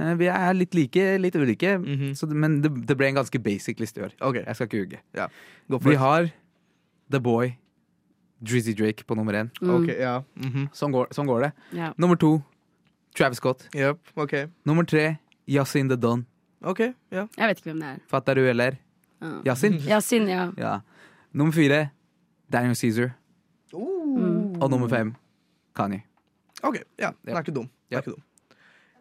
[SPEAKER 2] Eh, vi er litt like, litt ulike,
[SPEAKER 4] Mhm.
[SPEAKER 2] så, det- men det, det ble en ganske basic liste i år.
[SPEAKER 4] Mm. Ok.
[SPEAKER 2] Jeg skal ikke ljuge.
[SPEAKER 4] Ja. Gå for
[SPEAKER 2] Vi
[SPEAKER 4] det.
[SPEAKER 2] har The Boy, Drizzie Drake på nummer én.
[SPEAKER 4] Ok, ja. mhm.
[SPEAKER 2] Sånn går, sånn går det.
[SPEAKER 3] Mm, Ja.
[SPEAKER 2] Nummer to, Travis Scott.
[SPEAKER 4] Jep, ok.
[SPEAKER 2] Nummer tre, Yasin The Don.
[SPEAKER 4] Ok, ja.
[SPEAKER 3] Jeg vet ikke hvem det er.
[SPEAKER 2] Fattar du, eller?
[SPEAKER 3] Ja.
[SPEAKER 2] Yasin?
[SPEAKER 3] Ja, Sinn, ja.
[SPEAKER 2] Ja. Nummer fire, Daniel Cæsar. Og
[SPEAKER 4] Mm.
[SPEAKER 2] nummer fem, Kanye.
[SPEAKER 4] Ok, ja. Den er
[SPEAKER 2] Ja.
[SPEAKER 4] ikke dum. Den
[SPEAKER 2] Ja.
[SPEAKER 4] er ikke dum.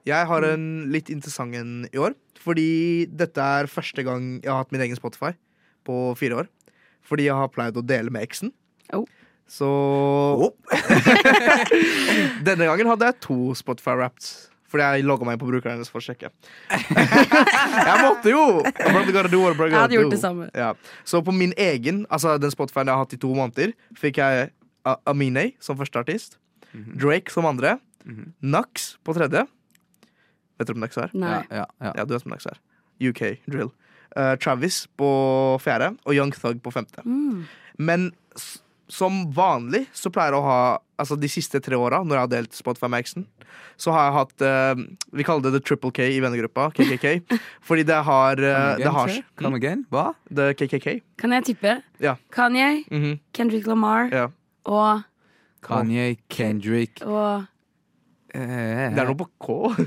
[SPEAKER 4] Jeg har en litt interessant en i år. Fordi dette er første gang jeg har hatt min egen Spotify på fire år. Fordi jeg har pleid å dele med eksen.
[SPEAKER 3] Oh.
[SPEAKER 4] Så Denne gangen hadde jeg to Spotify Wrapped. Fordi jeg logga meg inn på brukeren hennes for å sjekke. jeg måtte jo! Jeg
[SPEAKER 3] Jeg hadde gjort det samme.
[SPEAKER 4] Ja. Så på min egen, altså den Spotify-en jeg har hatt i to måneder, fikk jeg A- Aminé som første artist. Drake som andre. Nux på tredje. Vet dere hvem Nux er?
[SPEAKER 3] Nei.
[SPEAKER 2] Ja, ja, ja.
[SPEAKER 4] Ja, du vet hvem Nux er. UK drill. Eh, Travis på fjerde og Young Thug på femte. Men s som vanlig så pleier jeg å ha Altså De siste tre åra, når jeg har delt Spotify med Exen, så har jeg hatt eh, Vi kaller det The Triple K i vennegruppa, KKK. fordi det har, eh, det har Mm.
[SPEAKER 2] Again, sir? Come again? Hva?
[SPEAKER 4] The KKK.
[SPEAKER 3] Kan jeg tippe?
[SPEAKER 4] Ja.
[SPEAKER 3] Kanye,
[SPEAKER 4] Mhm,
[SPEAKER 3] Kendrick Lamar
[SPEAKER 4] ja.
[SPEAKER 3] og,
[SPEAKER 2] Kanye, Kendrick
[SPEAKER 3] og
[SPEAKER 2] eh,
[SPEAKER 4] Det er noe på K.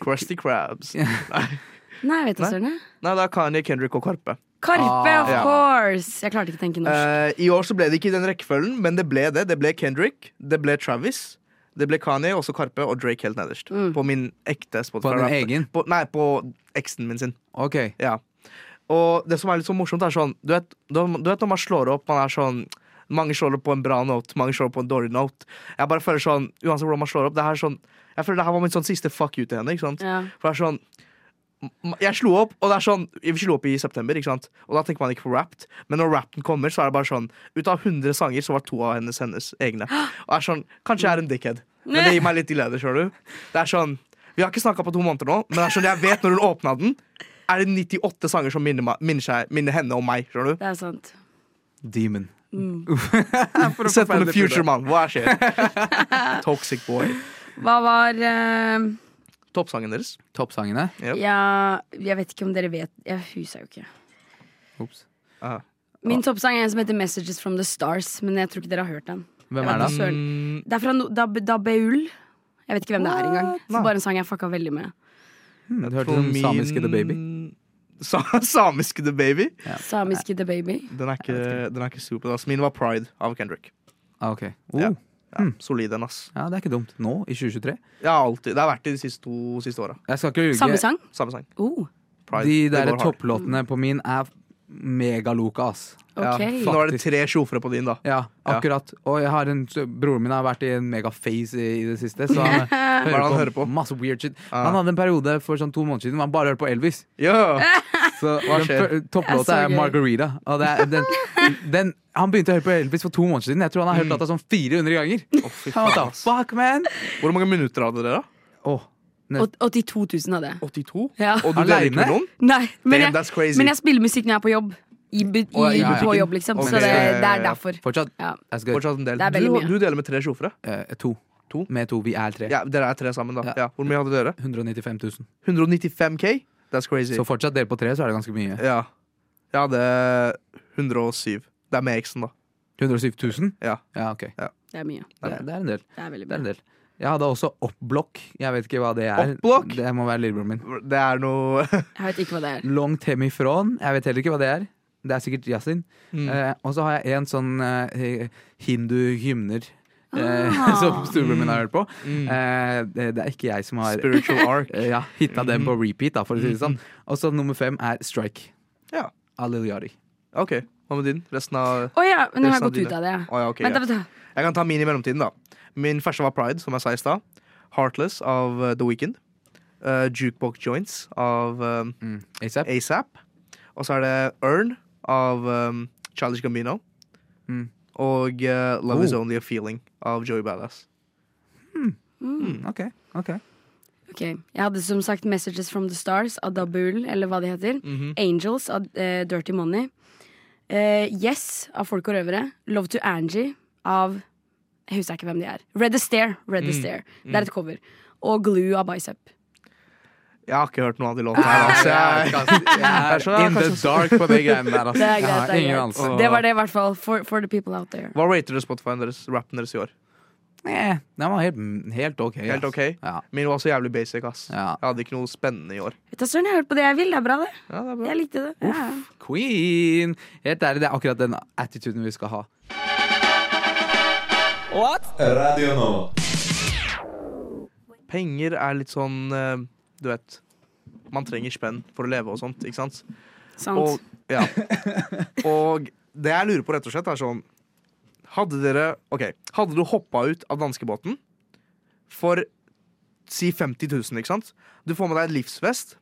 [SPEAKER 4] Krusty Krabs.
[SPEAKER 3] Nei, jeg vet da
[SPEAKER 4] Nei.
[SPEAKER 3] søren. jeg.
[SPEAKER 4] Nei, det er Kanye, Kendrick og Karpe.
[SPEAKER 3] Karpe,
[SPEAKER 2] Ah.
[SPEAKER 3] of
[SPEAKER 4] Ja.
[SPEAKER 3] course! Jeg klarte ikke å tenke norsk.
[SPEAKER 4] Eh, I år så ble det ikke i den rekkefølgen, men det ble det. Det ble Kendrick, det ble Travis, det ble Kanye, også Karpe og Drake helt nederst.
[SPEAKER 3] Mm.
[SPEAKER 4] På min ekte
[SPEAKER 2] På
[SPEAKER 4] Spotify.
[SPEAKER 2] den
[SPEAKER 4] Wrapped.
[SPEAKER 2] egen?
[SPEAKER 4] På, nei, på eksen min sin.
[SPEAKER 2] Ok.
[SPEAKER 4] Ja. Og det som er litt så morsomt, er sånn Du vet, du, du vet når man slår opp, man er sånn Mange slår opp på en bra note, mange slår opp på en dårlig note. Jeg bare føler sånn, uansett hvordan man slår opp, det her er sånn Jeg føler det her var min sånn siste fuck you til henne. ikke sant?
[SPEAKER 3] Ja.
[SPEAKER 4] For det er sånn m- Jeg slo opp, og det er sånn Vi slo opp i september, ikke sant? Og da tenker man ikke på rapped. Men når rappen kommer, så er det bare sånn Ut av 100 sanger, så var to av hennes hennes egne. Og det er sånn Kanskje jeg er en dickhead, men det gir meg litt glede, skjønner du. Det er sånn Vi har ikke snakka på to måneder nå, men det er sånn jeg vet når hun åpna den, er det 98 sanger som minner, meg- minner, seg, minner henne om meg, skjønner du.
[SPEAKER 3] Det er sant. Mm.
[SPEAKER 2] Demon.
[SPEAKER 4] Sett på The Future, mann. Hva skjer? Toxic boy.
[SPEAKER 3] Hva var eh,
[SPEAKER 4] Toppsangen deres.
[SPEAKER 2] Toppsangene.
[SPEAKER 4] Yep.
[SPEAKER 3] Ja, jeg vet ikke om dere vet Jeg husker jo ikke.
[SPEAKER 2] Ops.
[SPEAKER 4] Aha.
[SPEAKER 3] Min toppsang er en som heter 'Messages from the Stars', men jeg tror ikke dere har hørt den.
[SPEAKER 2] Hvem
[SPEAKER 3] Ja, det
[SPEAKER 2] er det? da?
[SPEAKER 3] Søren.
[SPEAKER 4] Mm,
[SPEAKER 3] Det er fra no Dab Dabeul. Jeg vet ikke hvem det er engang. Så
[SPEAKER 4] Nei.
[SPEAKER 3] bare en sang jeg fucka veldig med.
[SPEAKER 2] Hmm, Det hørtes
[SPEAKER 4] for
[SPEAKER 2] ut som samiske The Baby.
[SPEAKER 4] min- Sa samiske The Baby?
[SPEAKER 3] Samiske The Baby.
[SPEAKER 4] Den er ikke, den er ikke super. ass. Min var Pride av Kendrick.
[SPEAKER 2] Ah, ok. oh,
[SPEAKER 4] Ja.
[SPEAKER 2] ja.
[SPEAKER 4] Ja, Solid en, ass.
[SPEAKER 2] det er ikke dumt. Nå, i 2023.
[SPEAKER 4] Jeg har alltid, det har vært det de siste to siste åra.
[SPEAKER 2] Jeg skal ikke
[SPEAKER 3] Samme
[SPEAKER 2] ljuge.
[SPEAKER 3] sang?
[SPEAKER 4] Samme sang.
[SPEAKER 3] Oh,
[SPEAKER 4] Pride.
[SPEAKER 2] De
[SPEAKER 4] Det
[SPEAKER 2] der
[SPEAKER 4] går hardt.
[SPEAKER 2] topplåtene på min er megaloka, ass.
[SPEAKER 3] ok.
[SPEAKER 4] ja, Nå er det tre sjofere på din, da.
[SPEAKER 2] Ja,
[SPEAKER 4] Ja.
[SPEAKER 2] akkurat. Og jeg har en, broren min har vært i en megaphase i, i det siste, så han eh,
[SPEAKER 4] Hva er det han
[SPEAKER 2] hører
[SPEAKER 4] hører på?
[SPEAKER 2] på masse weird shit.
[SPEAKER 4] Ah.
[SPEAKER 2] Han hadde en periode for sånn to måneder siden hvor han bare hørte på Elvis.
[SPEAKER 4] Ja.
[SPEAKER 2] Så
[SPEAKER 4] Hva
[SPEAKER 2] den
[SPEAKER 4] skjer?
[SPEAKER 2] fø-
[SPEAKER 3] Det er
[SPEAKER 2] Topplåta
[SPEAKER 3] så
[SPEAKER 2] er
[SPEAKER 3] gøy.
[SPEAKER 2] Margarita. Og det er, den, den, han begynte å høre på Elvis for to måneder siden. Jeg tror han har hørt låta sånn 400 ganger.
[SPEAKER 4] Å, fy
[SPEAKER 2] Han
[SPEAKER 4] faen,
[SPEAKER 2] var da,
[SPEAKER 4] ass.
[SPEAKER 2] Fuck, man!
[SPEAKER 4] Hvor mange minutter hadde dere, da?
[SPEAKER 2] Åh,
[SPEAKER 3] Åt- 82 000 hadde jeg.
[SPEAKER 4] 82?
[SPEAKER 3] Ja.
[SPEAKER 4] Og du deler ikke med
[SPEAKER 2] Alene?
[SPEAKER 4] noen?
[SPEAKER 3] Nei, men
[SPEAKER 4] Damn,
[SPEAKER 3] jeg,
[SPEAKER 4] that's crazy.
[SPEAKER 3] men jeg spiller musikk når jeg er på jobb. I, bu- i,
[SPEAKER 2] Å, ja, ja, ja.
[SPEAKER 3] På jobb, liksom.
[SPEAKER 4] Ok,
[SPEAKER 3] Så det,
[SPEAKER 4] ja, ja, ja.
[SPEAKER 3] det er derfor.
[SPEAKER 2] fortsatt.
[SPEAKER 3] Ja.
[SPEAKER 2] That's good.
[SPEAKER 4] Fortsatt en del.
[SPEAKER 3] Det er veldig
[SPEAKER 4] Du,
[SPEAKER 3] mye.
[SPEAKER 4] du deler med tre sjofere?
[SPEAKER 2] Eh, to.
[SPEAKER 4] To?
[SPEAKER 2] Med to. Vi er tre.
[SPEAKER 4] Ja, dere er tre sammen, da.
[SPEAKER 2] Ja.
[SPEAKER 4] Ja. Hvor mye hadde dere?
[SPEAKER 2] 195 000.
[SPEAKER 4] 195 K? That's crazy.
[SPEAKER 2] Så fortsatt dere på tre, så er det ganske mye.
[SPEAKER 4] Ja. Jeg hadde 107. Det er med X-en, da.
[SPEAKER 2] 107 000?
[SPEAKER 4] Ja.
[SPEAKER 2] ja ok.
[SPEAKER 3] Det er mye.
[SPEAKER 2] Det er, det er en del.
[SPEAKER 3] Det er veldig
[SPEAKER 2] Det er
[SPEAKER 3] mye.
[SPEAKER 2] en del. Jeg hadde også oppblokk. Jeg vet ikke hva det er.
[SPEAKER 4] Oppblokk?
[SPEAKER 2] Det må være lillebroren min.
[SPEAKER 4] Det er noe
[SPEAKER 3] Jeg vet ikke hva det er.
[SPEAKER 2] Langt hjemmefra. Jeg vet heller ikke hva det er. Det er sikkert Yasin. Eh, og så har jeg en sånn eh, hindu-hymner. Eh,
[SPEAKER 3] Ah.
[SPEAKER 2] som storebroren min har hørt på.
[SPEAKER 4] Mm.
[SPEAKER 2] Eh, det, det er ikke jeg som har
[SPEAKER 4] Spiritual arc.
[SPEAKER 2] eh, ja, hitta den på repeat, da, for å si det sånn. Og så nummer fem er Strike.
[SPEAKER 4] Ja.
[SPEAKER 2] Aliliyari.
[SPEAKER 4] OK, hva med din? Resten av
[SPEAKER 3] Å ja, men nå har jeg
[SPEAKER 4] Resten av
[SPEAKER 3] gått ut
[SPEAKER 4] dine.
[SPEAKER 3] av det. ja.
[SPEAKER 4] Å ja, ok,
[SPEAKER 3] Vent,
[SPEAKER 4] ja.
[SPEAKER 3] da, vent, da.
[SPEAKER 4] Jeg kan ta min i mellomtiden, da. Min første var Pride, som jeg sa i stad. Heartless av eh, The Weeknd. Eh, Jukebox Joints av eh,
[SPEAKER 2] Mm. ASAP.
[SPEAKER 4] ASAP. Og så er det Earn av um, Childish Gambino.
[SPEAKER 2] Mm.
[SPEAKER 4] Og eh, Love Is
[SPEAKER 2] Oh.
[SPEAKER 4] Only a Feeling av Joey Badass.
[SPEAKER 2] Mm, Ok. ok
[SPEAKER 3] Ok, Jeg hadde som sagt 'Messages from the Stars' av Dabul, eller hva de heter. Angels av eh, Dirty Money. Eh, yes av Folk og røvere. Love to Angie av Jeg husker ikke hvem de er. Red Astaire. Red Astaire. Det er et cover. Og Glue av Bicep.
[SPEAKER 4] Jeg har ikke hørt noe av de låtene her. Altså. Jeg,
[SPEAKER 2] Jeg
[SPEAKER 4] skjønner,
[SPEAKER 2] er in the
[SPEAKER 4] kanskje-
[SPEAKER 2] dark på de greiene der. Altså.
[SPEAKER 3] Det er
[SPEAKER 2] Jeg
[SPEAKER 3] greit.
[SPEAKER 2] har
[SPEAKER 3] Det,
[SPEAKER 2] ingen
[SPEAKER 3] er
[SPEAKER 2] anelse.
[SPEAKER 3] greit. det var det, i hvert fall. For, for the people out there.
[SPEAKER 4] hva rater dere Spotify-en deres, rappen deres i år?
[SPEAKER 2] Nei, Eh, Den var helt, helt ok.
[SPEAKER 4] Helt
[SPEAKER 2] ass.
[SPEAKER 4] ok?
[SPEAKER 2] Ja.
[SPEAKER 4] Min var så jævlig basic, ass.
[SPEAKER 2] Ja.
[SPEAKER 4] Jeg hadde ikke noe spennende i år.
[SPEAKER 3] Vet du, Søren, jeg har hørt på det jeg vil. Det er bra, det.
[SPEAKER 4] Ja, det er bra.
[SPEAKER 3] Jeg likte det. Ja. ja.
[SPEAKER 2] Queen! Helt ærlig, det er akkurat den attituden vi skal ha.
[SPEAKER 4] Penger er litt sånn eh, Du vet, man trenger spenn for å leve og sånt, ikke sant?
[SPEAKER 3] Sant.
[SPEAKER 4] Og, ja. og det jeg lurer på, rett og slett, er sånn Hadde dere Ok, hadde du hoppa ut av danskebåten for si 50 000, ikke sant? Du får med deg en livsvest,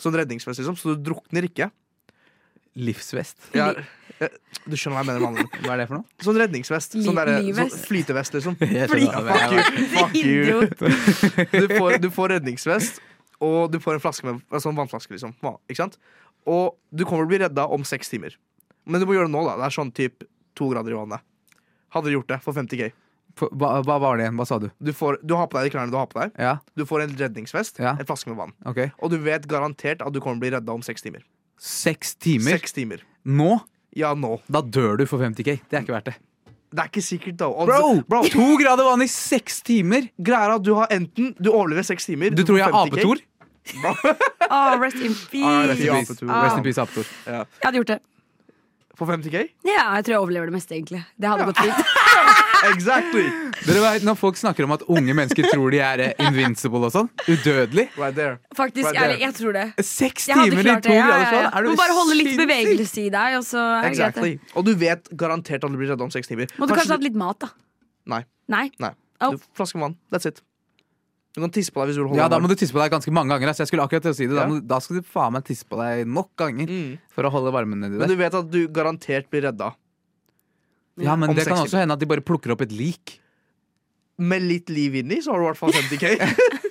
[SPEAKER 4] sånn redningsvest, liksom, så du drukner ikke.
[SPEAKER 2] Livsvest.
[SPEAKER 4] Ja, ja, du skjønner hva jeg mener, mannen.
[SPEAKER 2] Hva er det for noe?
[SPEAKER 4] Sånn redningsvest.
[SPEAKER 3] Li-
[SPEAKER 4] Sånn, derre-
[SPEAKER 3] livvest.
[SPEAKER 4] sånn flytevest, liksom.
[SPEAKER 2] Jeg
[SPEAKER 4] Fordi,
[SPEAKER 2] skjønner hva
[SPEAKER 4] fuck
[SPEAKER 2] jeg
[SPEAKER 4] you, fuck you.
[SPEAKER 3] Idiot.
[SPEAKER 4] Du får, du får redningsvest, og du får en flaske med, altså en vannflaske, liksom. Hva- Ikke sant? Og du kommer til å bli redda om seks timer. Men du må gjøre det nå, da. Det er sånn typ to grader i vannet. Hadde du gjort det for 50 G.
[SPEAKER 2] F- Hva, hva var det igjen? Hva sa du?
[SPEAKER 4] Du, får, du har på deg de klærne du har på deg.
[SPEAKER 2] Ja,
[SPEAKER 4] Du får en redningsvest,
[SPEAKER 2] Ja.
[SPEAKER 4] en flaske med vann.
[SPEAKER 2] ok
[SPEAKER 4] Og du vet garantert at du kommer til å bli redda om seks timer.
[SPEAKER 2] Seks timer?
[SPEAKER 4] Seks timer.
[SPEAKER 2] Nå?
[SPEAKER 4] Ja, nå.
[SPEAKER 2] Da dør du for 50K. Det er ikke verdt det.
[SPEAKER 4] Det er ikke sikkert, da. Og-
[SPEAKER 2] Bro!
[SPEAKER 4] bro
[SPEAKER 2] To grader vann i seks timer!
[SPEAKER 4] greia er at du har enten Du overlever seks timer.
[SPEAKER 2] Du tror jeg er
[SPEAKER 4] får 50K.
[SPEAKER 2] apetor?
[SPEAKER 3] Ah, rest in
[SPEAKER 4] Ah, rest
[SPEAKER 3] peace.
[SPEAKER 4] in
[SPEAKER 3] Jeg
[SPEAKER 4] peace.
[SPEAKER 2] Rest
[SPEAKER 4] Ah.
[SPEAKER 2] in peace, apetor.
[SPEAKER 3] hadde gjort det.
[SPEAKER 4] For 50 K?
[SPEAKER 3] Ja, jeg tror jeg overlever det meste, egentlig. Det hadde gått fint.
[SPEAKER 4] Exactly!
[SPEAKER 2] Dere vet, Når folk snakker om at unge mennesker tror de er eh, invincible og sånn, udødelig
[SPEAKER 4] Right there.
[SPEAKER 3] Faktisk,
[SPEAKER 4] Right
[SPEAKER 3] jeg,
[SPEAKER 4] there.
[SPEAKER 3] jeg tror det.
[SPEAKER 2] Seks
[SPEAKER 3] Jeg hadde
[SPEAKER 2] timer i
[SPEAKER 3] klart
[SPEAKER 2] to
[SPEAKER 3] det. Ja,
[SPEAKER 2] grader
[SPEAKER 3] ja,
[SPEAKER 2] sånn?
[SPEAKER 3] ja.
[SPEAKER 2] Er du
[SPEAKER 3] Må bare holde litt
[SPEAKER 2] sinnssyk?
[SPEAKER 3] bevegelse i deg, og så er det greit.
[SPEAKER 4] Exactly.
[SPEAKER 3] det.
[SPEAKER 4] Og du vet garantert at du blir redda om seks timer.
[SPEAKER 3] Må du kanskje
[SPEAKER 4] Kanskje
[SPEAKER 3] hatt litt mat, da?
[SPEAKER 4] Nei.
[SPEAKER 3] Nei?
[SPEAKER 4] Nei.
[SPEAKER 3] Au.
[SPEAKER 4] Du, flaske med vann. That's it. Du kan tisse på deg hvis du vil holde
[SPEAKER 2] Ja, da må
[SPEAKER 4] varmen.
[SPEAKER 2] du tisse på deg ganske mange ganger. ass. jeg skulle akkurat til å si det
[SPEAKER 4] Ja.
[SPEAKER 2] da, må, du- da skal du faen meg tisse på deg nok ganger
[SPEAKER 4] Mm.
[SPEAKER 2] for å holde varmen nedi
[SPEAKER 4] Men du
[SPEAKER 2] der.
[SPEAKER 4] vet at du garantert blir redda.
[SPEAKER 2] ja, men
[SPEAKER 4] om
[SPEAKER 2] det kan
[SPEAKER 4] seks
[SPEAKER 2] også hende at de bare plukker opp et lik.
[SPEAKER 4] Med litt liv inni, så har du i hvert fall 50K.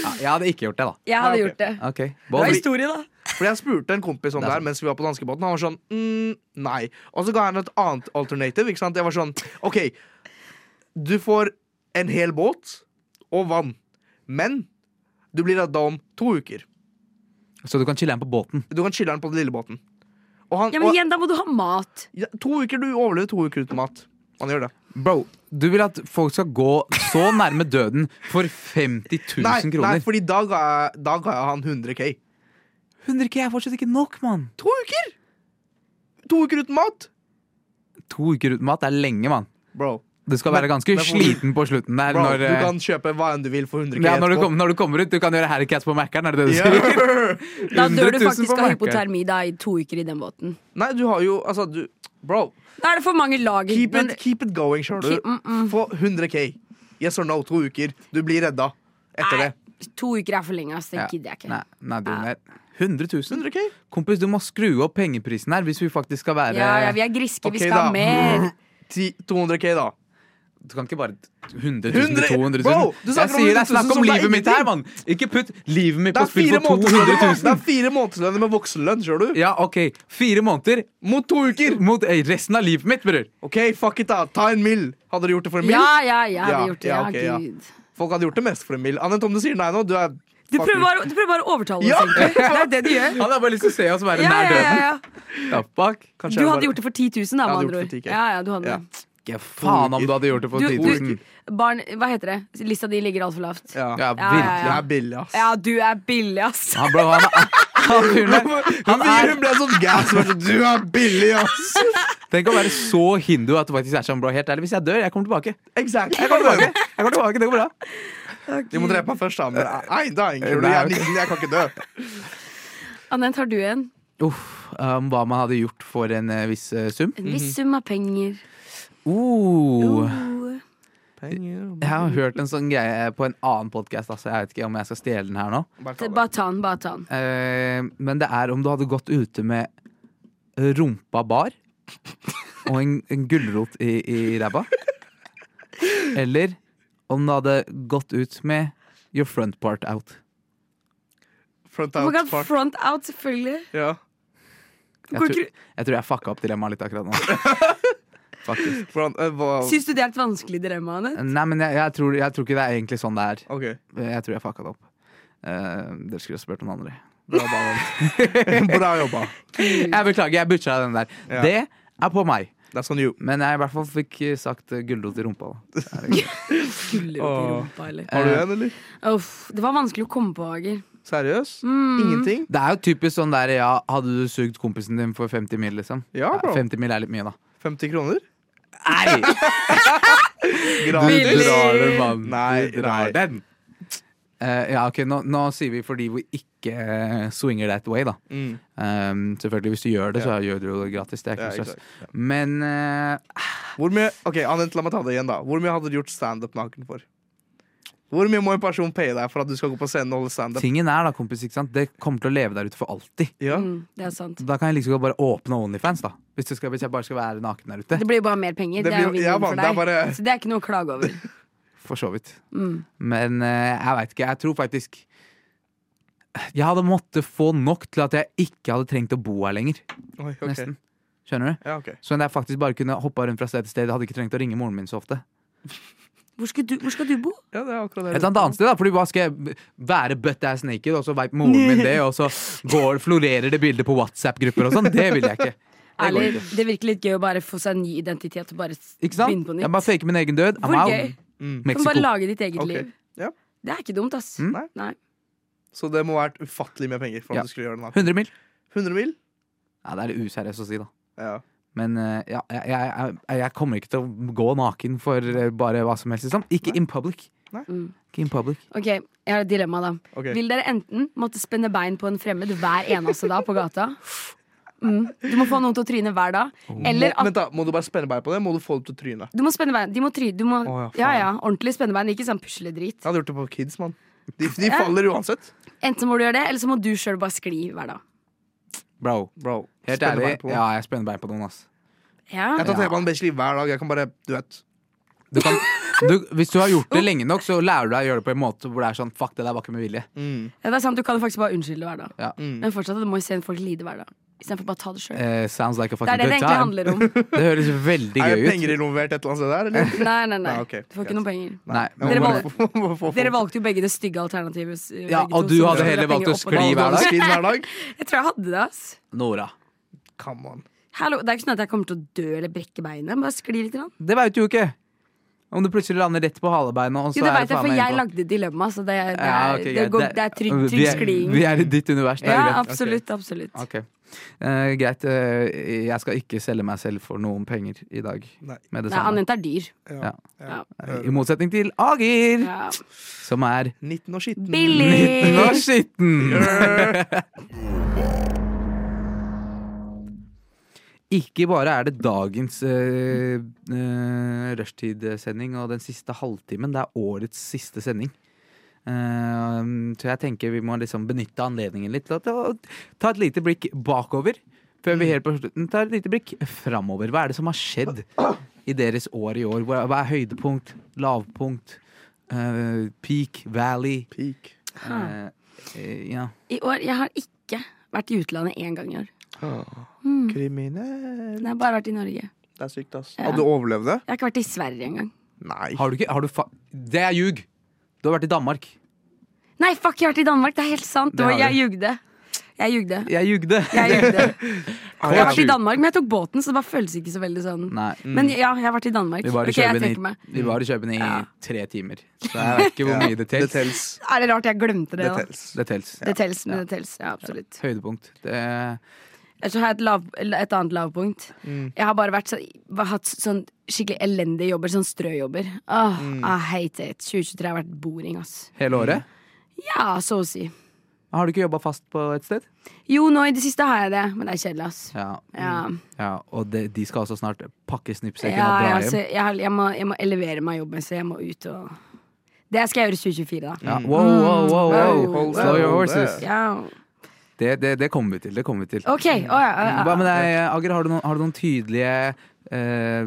[SPEAKER 2] Ja, jeg hadde ikke gjort det, da.
[SPEAKER 3] Jeg hadde
[SPEAKER 4] Ja, ok.
[SPEAKER 3] gjort det.
[SPEAKER 2] Ok,
[SPEAKER 3] Bra
[SPEAKER 2] Bob.
[SPEAKER 3] historie, da.
[SPEAKER 4] For jeg spurte en kompis om
[SPEAKER 2] Det
[SPEAKER 4] det
[SPEAKER 2] er
[SPEAKER 4] her mens vi var på danskebåten. Han var sånn mm, nei. Og så ga han et annet alternativ. Ikke sant? Jeg var sånn OK, du får en hel båt og vann. Men du blir redda om to uker.
[SPEAKER 2] Så du kan chille på båten.
[SPEAKER 4] Du kan chille den på den lille båten. Og han,
[SPEAKER 3] Ja, men
[SPEAKER 4] og,
[SPEAKER 3] igjen, da må du ha mat.
[SPEAKER 4] ja, to uker, Du overlever to uker uten mat. Man gjør det.
[SPEAKER 2] Bro, du vil at folk skal gå så nærme døden for 50 000
[SPEAKER 4] Nei, nei
[SPEAKER 2] kroner?
[SPEAKER 4] fordi da ga, jeg, da ga jeg han 100 K.
[SPEAKER 2] 100 K er fortsatt ikke nok, mann.
[SPEAKER 4] To uker! To uker uten mat!
[SPEAKER 2] To uker uten mat er lenge, mann.
[SPEAKER 4] Bro,
[SPEAKER 2] Du skal
[SPEAKER 4] Men-
[SPEAKER 2] være ganske
[SPEAKER 4] men hvor-
[SPEAKER 2] sliten på slutten der
[SPEAKER 4] bro
[SPEAKER 2] når,
[SPEAKER 4] du
[SPEAKER 2] eh,
[SPEAKER 4] kan kjøpe hva enn du vil for 100 K.
[SPEAKER 2] ja, når, du
[SPEAKER 4] etterpå.
[SPEAKER 2] kommer, når du kommer ut. Du kan gjøre Harry Cats på Mækkern, er det det du sier?
[SPEAKER 4] Ja.
[SPEAKER 3] Da dør
[SPEAKER 2] 100
[SPEAKER 3] du
[SPEAKER 2] 000
[SPEAKER 3] faktisk av
[SPEAKER 2] på Mækkern.
[SPEAKER 3] hypotermi da i to uker i den båten.
[SPEAKER 4] Nei, du har jo Altså, du Bro,
[SPEAKER 3] Da er det for mange lager.
[SPEAKER 4] keep
[SPEAKER 3] men-
[SPEAKER 4] it, keep it going, skjønner
[SPEAKER 3] Keep-
[SPEAKER 4] du.
[SPEAKER 3] mm, mm.
[SPEAKER 4] Få 100 K. Yes or no, to uker. Du blir redda etter det.
[SPEAKER 3] To uker er for lenge, ass. Det
[SPEAKER 2] Ja.
[SPEAKER 3] gidder jeg ikke.
[SPEAKER 2] Nei, nei, du, nei. 100 000?
[SPEAKER 4] 100 K?
[SPEAKER 2] Kompis, du må skru opp pengeprisen her hvis vi faktisk skal være
[SPEAKER 3] Ja, ja, vi er griske,
[SPEAKER 4] Ok,
[SPEAKER 3] vi skal ha
[SPEAKER 4] da.
[SPEAKER 3] mer.
[SPEAKER 4] Ti- 200 K, da.
[SPEAKER 2] Du kan ikke bare 100 000
[SPEAKER 4] 100
[SPEAKER 2] til 200 000.
[SPEAKER 4] Bro, du
[SPEAKER 2] jeg
[SPEAKER 4] snakker om
[SPEAKER 2] sier det er
[SPEAKER 4] 100 000
[SPEAKER 2] snakk om
[SPEAKER 4] som det er
[SPEAKER 2] livet mitt her, mann! Ikke putt livet mitt
[SPEAKER 4] Det
[SPEAKER 2] på
[SPEAKER 4] er
[SPEAKER 2] spill
[SPEAKER 4] fire
[SPEAKER 2] for 200
[SPEAKER 4] månedslønner Det
[SPEAKER 2] 000!
[SPEAKER 4] er fire månedslønner med voksenlønn, skjønner du.
[SPEAKER 2] Ja, OK. Fire måneder
[SPEAKER 4] Mot to uker!
[SPEAKER 2] mot eh, resten av livet mitt, bror.
[SPEAKER 4] OK, fuck it, da. Ta en mill. Hadde dere gjort det for en mill?
[SPEAKER 3] Ja, ja, jeg hadde
[SPEAKER 4] Ja,
[SPEAKER 3] gjort det.
[SPEAKER 4] ja,
[SPEAKER 3] Ja,
[SPEAKER 4] ok, ja.
[SPEAKER 3] Gud.
[SPEAKER 4] Folk hadde gjort det mest for en mill. Annet om du sier nei nå, du er
[SPEAKER 3] Du
[SPEAKER 4] fuck
[SPEAKER 3] prøver,
[SPEAKER 4] you.
[SPEAKER 3] bare, du prøver bare å overtale oss,
[SPEAKER 4] Ja.
[SPEAKER 3] egentlig. Det er det du gjør.
[SPEAKER 2] Han har bare lyst til å se oss være
[SPEAKER 3] Ja,
[SPEAKER 2] nær
[SPEAKER 3] ja, ja,
[SPEAKER 2] døden.
[SPEAKER 3] ja.
[SPEAKER 2] Da, fuck.
[SPEAKER 4] Kanskje
[SPEAKER 3] Du
[SPEAKER 4] jeg
[SPEAKER 3] hadde
[SPEAKER 4] bare-
[SPEAKER 3] gjort det for 10 000, da,
[SPEAKER 4] Jeg hadde
[SPEAKER 3] med
[SPEAKER 4] gjort
[SPEAKER 3] andre
[SPEAKER 4] det for 10K.
[SPEAKER 3] ord. Ja, ja, du hadde
[SPEAKER 4] Ja.
[SPEAKER 3] det.
[SPEAKER 2] Ikke faen om du hadde gjort det for
[SPEAKER 3] Du,
[SPEAKER 2] 10
[SPEAKER 3] du,
[SPEAKER 2] 000.
[SPEAKER 3] barn, hva heter det? Lista di ligger altfor lavt.
[SPEAKER 4] Ja.
[SPEAKER 2] Ja,
[SPEAKER 3] Ja, ja,
[SPEAKER 2] virkelig.
[SPEAKER 4] Det
[SPEAKER 3] ja.
[SPEAKER 4] er billig, ass.
[SPEAKER 3] Ja, du er billig, ass.
[SPEAKER 2] Han, bro, han, han, fyren der,
[SPEAKER 4] Hun
[SPEAKER 2] han
[SPEAKER 4] ble-
[SPEAKER 2] er
[SPEAKER 4] hun ble sånn gass. hun var sånn, Du er billig, ass!
[SPEAKER 2] Tenk å være så hindu at du faktisk er sånn, bro. Helt ærlig, hvis jeg dør, jeg kommer tilbake.
[SPEAKER 4] Exakt.
[SPEAKER 2] Jeg kommer tilbake, jeg kommer tilbake, Det går bra.
[SPEAKER 4] De må drepe meg først, da. Men nei, det er ingen kule.
[SPEAKER 2] Nei,
[SPEAKER 4] Jeg er
[SPEAKER 2] ok.
[SPEAKER 4] 19, jeg kan ikke dø.
[SPEAKER 3] Anette, har du en?
[SPEAKER 2] Uff, um, hva man hadde gjort for en eh, viss eh, sum.
[SPEAKER 3] En
[SPEAKER 4] Mhm.
[SPEAKER 3] viss sum av penger.
[SPEAKER 2] Oh,
[SPEAKER 3] Oh.
[SPEAKER 2] jeg har hørt en sånn greie på en annen podkast, altså. Jeg vet ikke om jeg skal stjele den her nå.
[SPEAKER 4] Bare ta
[SPEAKER 3] Det-
[SPEAKER 4] det.
[SPEAKER 3] Bare ta den, bare ta den.
[SPEAKER 2] Eh, men det er om du hadde gått ute med rumpa bar og en, en gulrot i, i ræva. Eller om du hadde gått ut med your front part out.
[SPEAKER 4] Front
[SPEAKER 3] Oh my
[SPEAKER 4] out
[SPEAKER 3] God,
[SPEAKER 4] part.
[SPEAKER 3] front out, selvfølgelig.
[SPEAKER 4] Ja.
[SPEAKER 2] Jeg
[SPEAKER 3] Går
[SPEAKER 2] tror,
[SPEAKER 3] ikke-
[SPEAKER 2] jeg, tror jeg fucka opp dilemmaet litt akkurat nå. Faktisk.
[SPEAKER 4] Front, eh, hva-
[SPEAKER 3] Syns du det er et vanskelig dilemma, Anette?
[SPEAKER 2] Nei, men jeg, jeg, tror, jeg tror ikke det er egentlig sånn det er.
[SPEAKER 4] OK.
[SPEAKER 2] Jeg tror jeg fucka det opp. Eh, dere skulle ha spurt noen andre.
[SPEAKER 4] Bra jobba. Bra jobba.
[SPEAKER 2] Jeg beklager, jeg butcha den der.
[SPEAKER 4] Ja.
[SPEAKER 2] Det er på meg.
[SPEAKER 4] That's on you.
[SPEAKER 2] Men jeg i hvert fall fikk eh, sagt eh, gulrot i rumpa. Da.
[SPEAKER 3] Gulrot i
[SPEAKER 4] Åh.
[SPEAKER 3] rumpa, eller?
[SPEAKER 4] Har du
[SPEAKER 2] Eh.
[SPEAKER 4] en, eller?
[SPEAKER 3] Uff, det var vanskelig å komme på, Mm. Ager.
[SPEAKER 4] Seriøs? Ingenting?
[SPEAKER 2] Det er jo typisk sånn der, ja, hadde du sugd kompisen din for 50 mil, liksom?
[SPEAKER 4] Ja, bro.
[SPEAKER 2] 50 mil er litt mye, da.
[SPEAKER 4] 50 kroner?
[SPEAKER 2] Nei! Du
[SPEAKER 4] Gratis.
[SPEAKER 2] drar den, mann.
[SPEAKER 4] Nei,
[SPEAKER 2] du drar
[SPEAKER 4] nei.
[SPEAKER 2] den. Eh, ja, ok, nå, nå sier vi fordi vi ikke eh, swinger that way, da.
[SPEAKER 4] Mm.
[SPEAKER 2] Um, selvfølgelig, hvis du gjør det, så gjør du det gratis. Det er ikke
[SPEAKER 4] Ja,
[SPEAKER 2] noe stress.
[SPEAKER 4] exakt.
[SPEAKER 2] Men eh,
[SPEAKER 4] Hvor mye Ok, Anette, la meg ta det igjen da Hvor mye hadde du gjort standup naken for? Hvor mye må en person paye deg for at du skal gå på scenen og holde standup?
[SPEAKER 2] tingen er da, kompis, ikke sant? det kommer til å leve der ute for alltid.
[SPEAKER 4] Ja.
[SPEAKER 3] Mm, det er sant.
[SPEAKER 2] Da kan jeg liksom bare åpne Onlyfans, da. Hvis, du skal, hvis jeg bare skal være naken der ute.
[SPEAKER 3] Det blir jo bare mer penger.
[SPEAKER 4] Det
[SPEAKER 3] Det, er jo
[SPEAKER 4] blir- ja,
[SPEAKER 3] vinn-vinn for
[SPEAKER 4] man, det er
[SPEAKER 3] deg.
[SPEAKER 4] bare-
[SPEAKER 3] Så det er ikke noe å klage over.
[SPEAKER 2] For så vidt.
[SPEAKER 3] Mm.
[SPEAKER 2] Men eh, jeg veit ikke. Jeg tror faktisk Jeg hadde måttet få nok til at jeg ikke hadde trengt å bo her lenger.
[SPEAKER 4] Oi, ok.
[SPEAKER 2] Nesten. Skjønner du?
[SPEAKER 4] Ja, ok
[SPEAKER 2] Sånn at jeg faktisk bare kunne hoppa rundt fra sted til sted. Jeg hadde ikke trengt å ringe moren min så ofte.
[SPEAKER 3] Hvor, skal du, hvor skal du bo?
[SPEAKER 4] Ja, det er akkurat
[SPEAKER 2] Et
[SPEAKER 4] det.
[SPEAKER 2] annet sted, da, fordi hva skal jeg b- være butt ass naked, og så veit moren min det, og så går, florerer det bildet på WhatsApp-grupper og sånn? Det vil jeg ikke. Det går
[SPEAKER 3] Ærlig,
[SPEAKER 2] ikke.
[SPEAKER 3] det virker litt gøy å bare få seg en ny identitet og bare s-
[SPEAKER 2] Ikke sant?
[SPEAKER 3] begynne på nytt.
[SPEAKER 2] Jeg bare faker min egen død. I'm
[SPEAKER 3] Hvor
[SPEAKER 2] out.
[SPEAKER 3] gøy? Du
[SPEAKER 4] Mm.
[SPEAKER 3] kan bare
[SPEAKER 2] Mexico.
[SPEAKER 3] lage ditt eget
[SPEAKER 4] Ok.
[SPEAKER 3] liv.
[SPEAKER 4] Ja.
[SPEAKER 3] Det er ikke dumt, ass.
[SPEAKER 2] Mm.
[SPEAKER 4] Nei.
[SPEAKER 3] Nei.
[SPEAKER 4] Så det må ha vært ufattelig med penger for at
[SPEAKER 2] Ja.
[SPEAKER 4] du skulle gjøre det naken.
[SPEAKER 2] 100 mil?
[SPEAKER 4] 100 mil?
[SPEAKER 2] Ja, det er litt useriøst å si, da.
[SPEAKER 4] Ja.
[SPEAKER 2] Men eh, ja, jeg, jeg, jeg, jeg kommer ikke til å gå naken for eh, bare hva som helst. Liksom. Ikke in public.
[SPEAKER 4] Nei.
[SPEAKER 2] Mm. Ikke in public.
[SPEAKER 3] Ok, jeg har et dilemma, da.
[SPEAKER 4] Ok.
[SPEAKER 3] Vil dere enten måtte spenne bein på en fremmed hver eneste dag på gata? Mm. Du må få noen til å tryne hver dag. Eller
[SPEAKER 4] må,
[SPEAKER 3] at
[SPEAKER 4] vent da, må du bare spenne bein på det? Må du få det til trynet?
[SPEAKER 3] du må spenne bein. De må try, du må,
[SPEAKER 4] Å,
[SPEAKER 3] ja,
[SPEAKER 4] ja, faen.
[SPEAKER 3] ja, ordentlig spennebein, ikke sånn pusledrit.
[SPEAKER 4] Jeg hadde gjort det på kids, mann. De, de faller uansett.
[SPEAKER 3] Enten må du gjøre det, eller så må du sjøl bare skli hver dag.
[SPEAKER 2] Bro,
[SPEAKER 4] Bro,
[SPEAKER 2] helt
[SPEAKER 4] spenne
[SPEAKER 2] ærlig.
[SPEAKER 4] bein på det.
[SPEAKER 2] Ja, jeg spenner bein på noen, ass.
[SPEAKER 3] Ja.
[SPEAKER 4] Jeg tar
[SPEAKER 2] Ja.
[SPEAKER 4] T-banen basically hver dag. Jeg kan bare, du vet
[SPEAKER 2] Du kan, Du, hvis du har gjort
[SPEAKER 3] Oh.
[SPEAKER 2] det lenge nok, så lærer du deg å gjøre det på en måte hvor det er sånn Fuck, det der var ikke med vilje.
[SPEAKER 4] Mm.
[SPEAKER 3] Ja, det er sant, Du kan faktisk bare unnskylde hver dag.
[SPEAKER 2] Ja.
[SPEAKER 3] Men fortsatt, du må jo se folk lide hver dag. Istedenfor bare å ta det sjøl.
[SPEAKER 2] Eh, sounds like a
[SPEAKER 3] Det
[SPEAKER 2] fucking
[SPEAKER 3] er det det
[SPEAKER 2] good
[SPEAKER 3] egentlig
[SPEAKER 2] time.
[SPEAKER 3] handler om.
[SPEAKER 2] Det høres veldig
[SPEAKER 4] Er
[SPEAKER 2] gøy
[SPEAKER 4] det
[SPEAKER 2] ut.
[SPEAKER 4] penger involvert et eller annet sted der, eller?
[SPEAKER 3] Nei, nei, nei.
[SPEAKER 4] Nei, ok,
[SPEAKER 3] Du får
[SPEAKER 4] greit.
[SPEAKER 3] ikke noen penger.
[SPEAKER 2] Nei,
[SPEAKER 4] Nei,
[SPEAKER 3] Dere
[SPEAKER 2] men-
[SPEAKER 3] valg-
[SPEAKER 4] hvorfor- hvorfor-
[SPEAKER 3] Dere valgte jo begge det stygge alternativet. s-
[SPEAKER 2] Ja,
[SPEAKER 3] begge
[SPEAKER 2] og
[SPEAKER 3] to,
[SPEAKER 2] du
[SPEAKER 3] så
[SPEAKER 2] hadde
[SPEAKER 3] dere
[SPEAKER 2] heller
[SPEAKER 3] penger
[SPEAKER 2] valgt å
[SPEAKER 3] opp og
[SPEAKER 2] skli
[SPEAKER 3] ned.
[SPEAKER 2] hver dag.
[SPEAKER 4] Skid hver dag?
[SPEAKER 3] Jeg tror jeg hadde det. ass
[SPEAKER 2] Nora.
[SPEAKER 4] Come on.
[SPEAKER 3] Hallo, Det er ikke sånn at jeg kommer til å dø eller brekke beinet. Bare skli litt. Grann.
[SPEAKER 2] Det veit du jo ikke. Om du plutselig lander rett på halebeinet. Og så
[SPEAKER 3] Jo, det
[SPEAKER 2] er
[SPEAKER 3] vet jeg,
[SPEAKER 2] faen
[SPEAKER 3] for
[SPEAKER 2] meg
[SPEAKER 3] jeg
[SPEAKER 2] innpå.
[SPEAKER 3] lagde dilemma, så det, det, er,
[SPEAKER 2] Ja, ok,
[SPEAKER 3] det,
[SPEAKER 2] greit.
[SPEAKER 3] går, det er trygg,
[SPEAKER 2] vi
[SPEAKER 3] trygg
[SPEAKER 2] er-
[SPEAKER 3] skliing.
[SPEAKER 2] Vi er i ditt univers. Det er
[SPEAKER 3] Ja,
[SPEAKER 2] greit.
[SPEAKER 3] absolutt. absolutt
[SPEAKER 2] Ok. Eh, greit. eh, jeg skal ikke selge meg selv for noen penger i dag.
[SPEAKER 4] Nei.
[SPEAKER 2] Med det
[SPEAKER 3] Nei,
[SPEAKER 2] samme.
[SPEAKER 3] Anette er dyr.
[SPEAKER 2] Ja.
[SPEAKER 4] Ja.
[SPEAKER 2] I motsetning til Agir,
[SPEAKER 3] Ja.
[SPEAKER 2] som er
[SPEAKER 4] 19 og skitten.
[SPEAKER 2] Nitten og
[SPEAKER 3] Billig!
[SPEAKER 2] skitten! Ikke bare er det dagens uh, rushtidssending og den siste halvtimen, det er årets siste sending. Eh, så jeg tenker vi må liksom benytte anledningen litt til å- til å ta et lite blikk bakover. Før vi helt på slutten tar et lite blikk framover. Hva er det som har skjedd i deres år i år? Hva hva er høydepunkt, lavpunkt, eh, peak, valley?
[SPEAKER 4] Peak.
[SPEAKER 2] Eh, eh, ja.
[SPEAKER 3] I år, Jeg har ikke vært i utlandet én gang i år.
[SPEAKER 4] Kriminell.
[SPEAKER 3] Jeg har bare vært i Norge. Jeg
[SPEAKER 4] Det er sykt, ass.
[SPEAKER 3] Hmm. Ja.
[SPEAKER 4] Og du overlevde?
[SPEAKER 3] har ikke vært i Sverige engang.
[SPEAKER 4] Nei.
[SPEAKER 2] Har du ikke har du fa Det er ljug! Du har vært i Danmark.
[SPEAKER 3] Nei, fuck, jeg har vært i Danmark! Det er helt sant!
[SPEAKER 2] Det har
[SPEAKER 3] Og jeg ljugde. Jeg ljugde.
[SPEAKER 2] Jeg ljugde!
[SPEAKER 3] Jeg ljugde.
[SPEAKER 4] Ah,
[SPEAKER 3] Jeg har
[SPEAKER 4] ja.
[SPEAKER 3] vært i Danmark, men jeg tok båten, så det bare føles ikke så veldig sånn.
[SPEAKER 2] Nei.
[SPEAKER 3] Men ja, jeg har vært i Danmark.
[SPEAKER 2] Vi var i
[SPEAKER 3] Ok, jeg
[SPEAKER 2] Kjøben
[SPEAKER 3] trekker meg.
[SPEAKER 2] i, vi var i, Kjøben i
[SPEAKER 3] Ja.
[SPEAKER 2] tre timer, så jeg vet ikke hvor
[SPEAKER 4] Ja.
[SPEAKER 2] mye det
[SPEAKER 4] Det
[SPEAKER 2] tels.
[SPEAKER 4] tels.
[SPEAKER 3] Er det rart jeg glemte det?
[SPEAKER 4] Det
[SPEAKER 3] da?
[SPEAKER 4] tels.
[SPEAKER 2] Det tels.
[SPEAKER 3] Det tels, men det tels. Ja, absolutt.
[SPEAKER 2] Høydepunkt. Det,
[SPEAKER 3] Ellers så har jeg et, lav, et annet lavpunkt. Jeg har bare vært så, bare hatt sånn skikkelig elendige jobber, sånn strøjobber. Åh, I hate it. 2023 har vært boring, ass.
[SPEAKER 2] hele året?
[SPEAKER 3] Ja, så å si.
[SPEAKER 2] Har du ikke jobba fast på et sted?
[SPEAKER 3] Jo, nå i det siste har jeg det, men det er kjedelig, ass.
[SPEAKER 2] Ja.
[SPEAKER 3] Ja,
[SPEAKER 2] ja og det, de skal altså snart pakke
[SPEAKER 3] ja, jeg,
[SPEAKER 2] snippsekken og dra
[SPEAKER 3] altså,
[SPEAKER 2] hjem.
[SPEAKER 3] jeg, har- jeg, må, jeg må elevere meg jobben, så jeg må ut og Det skal jeg gjøre i 2024, da.
[SPEAKER 2] Ja. Wow, wow, wow,
[SPEAKER 3] Mm. Wow,
[SPEAKER 2] wow.
[SPEAKER 3] wow.
[SPEAKER 2] Slow your horses.
[SPEAKER 3] Ja.
[SPEAKER 2] Det, det, det kommer vi til. Det kommer vi til.
[SPEAKER 3] OK. Å ja, ja, ja.
[SPEAKER 2] Hva med deg, Ager? Har du noen, har du noen tydelige eh,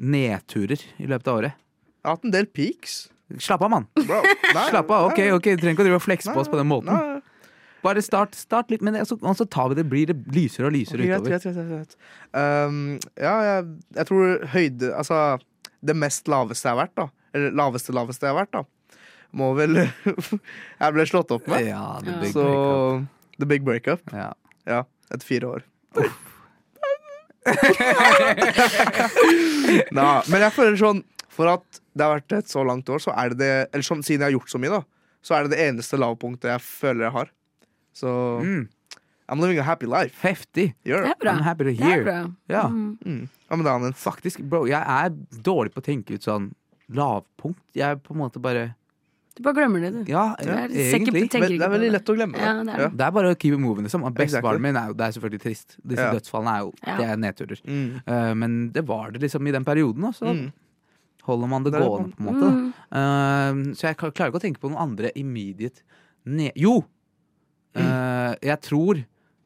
[SPEAKER 2] nedturer i løpet av året?
[SPEAKER 4] Jeg har hatt en del peaks.
[SPEAKER 2] Slapp av, mann.
[SPEAKER 4] Bro. Nei,
[SPEAKER 2] Slapp av. Ok,
[SPEAKER 4] nei,
[SPEAKER 2] ok, du trenger ikke å drive og flekse på oss på den måten.
[SPEAKER 4] nei.
[SPEAKER 2] Bare start, start litt med det, og så, og så tar vi det. Blir det lysere og lysere
[SPEAKER 4] Greit,
[SPEAKER 2] utover.
[SPEAKER 4] greit, greit, greit. Um, ja, jeg, jeg tror høyde Altså, det mest laveste jeg har vært, da. Eller laveste, laveste jeg har vært, da. Må vel Jeg ble slått opp med.
[SPEAKER 2] Ja, the
[SPEAKER 3] Ja.
[SPEAKER 2] big
[SPEAKER 4] Så
[SPEAKER 2] breakup.
[SPEAKER 4] The big breakup.
[SPEAKER 2] Ja.
[SPEAKER 4] Ja. Etter fire år. Nei, men jeg føler sånn For at det har vært et så langt år, så er det det Eller sånn, siden jeg har gjort så mye, da, så er det det eneste lavpunktet jeg føler jeg har. Så
[SPEAKER 2] Mm,
[SPEAKER 4] I'm living a happy life.
[SPEAKER 2] heftig.
[SPEAKER 4] Gjør
[SPEAKER 3] Det
[SPEAKER 4] det.
[SPEAKER 3] er bra.
[SPEAKER 2] I'm happy to
[SPEAKER 3] Det er
[SPEAKER 2] hear.
[SPEAKER 3] bra.
[SPEAKER 2] Ja.
[SPEAKER 3] Mm.
[SPEAKER 4] Hva med dagen din?
[SPEAKER 2] Faktisk, bro, jeg er dårlig på å tenke ut sånn lavpunkt. Jeg er på en måte bare
[SPEAKER 3] Du bare glemmer det, du.
[SPEAKER 2] Ja,
[SPEAKER 3] Ja, det er
[SPEAKER 2] egentlig.
[SPEAKER 3] sikkert- tenker
[SPEAKER 4] Men det
[SPEAKER 3] ikke
[SPEAKER 4] er
[SPEAKER 3] på
[SPEAKER 4] veldig
[SPEAKER 3] det.
[SPEAKER 4] lett å glemme.
[SPEAKER 3] Ja, det er det.
[SPEAKER 2] Det er bare å keep it moving. Liksom. Bestefaren
[SPEAKER 4] Exactly.
[SPEAKER 2] min er jo Det er selvfølgelig trist. Disse
[SPEAKER 4] Ja.
[SPEAKER 2] dødsfallene er jo
[SPEAKER 3] Ja.
[SPEAKER 2] Det er nedturer.
[SPEAKER 4] Ja. Mm.
[SPEAKER 2] Eh, men det var det liksom i den perioden, og så
[SPEAKER 4] Mm.
[SPEAKER 2] holder man det,
[SPEAKER 4] Det er det
[SPEAKER 2] gående,
[SPEAKER 4] man-
[SPEAKER 2] på en måte. da. Eh, så jeg kla- klarer ikke å tenke på noen andre immediate ned... Jo!
[SPEAKER 3] Mm.
[SPEAKER 2] Eh, jeg tror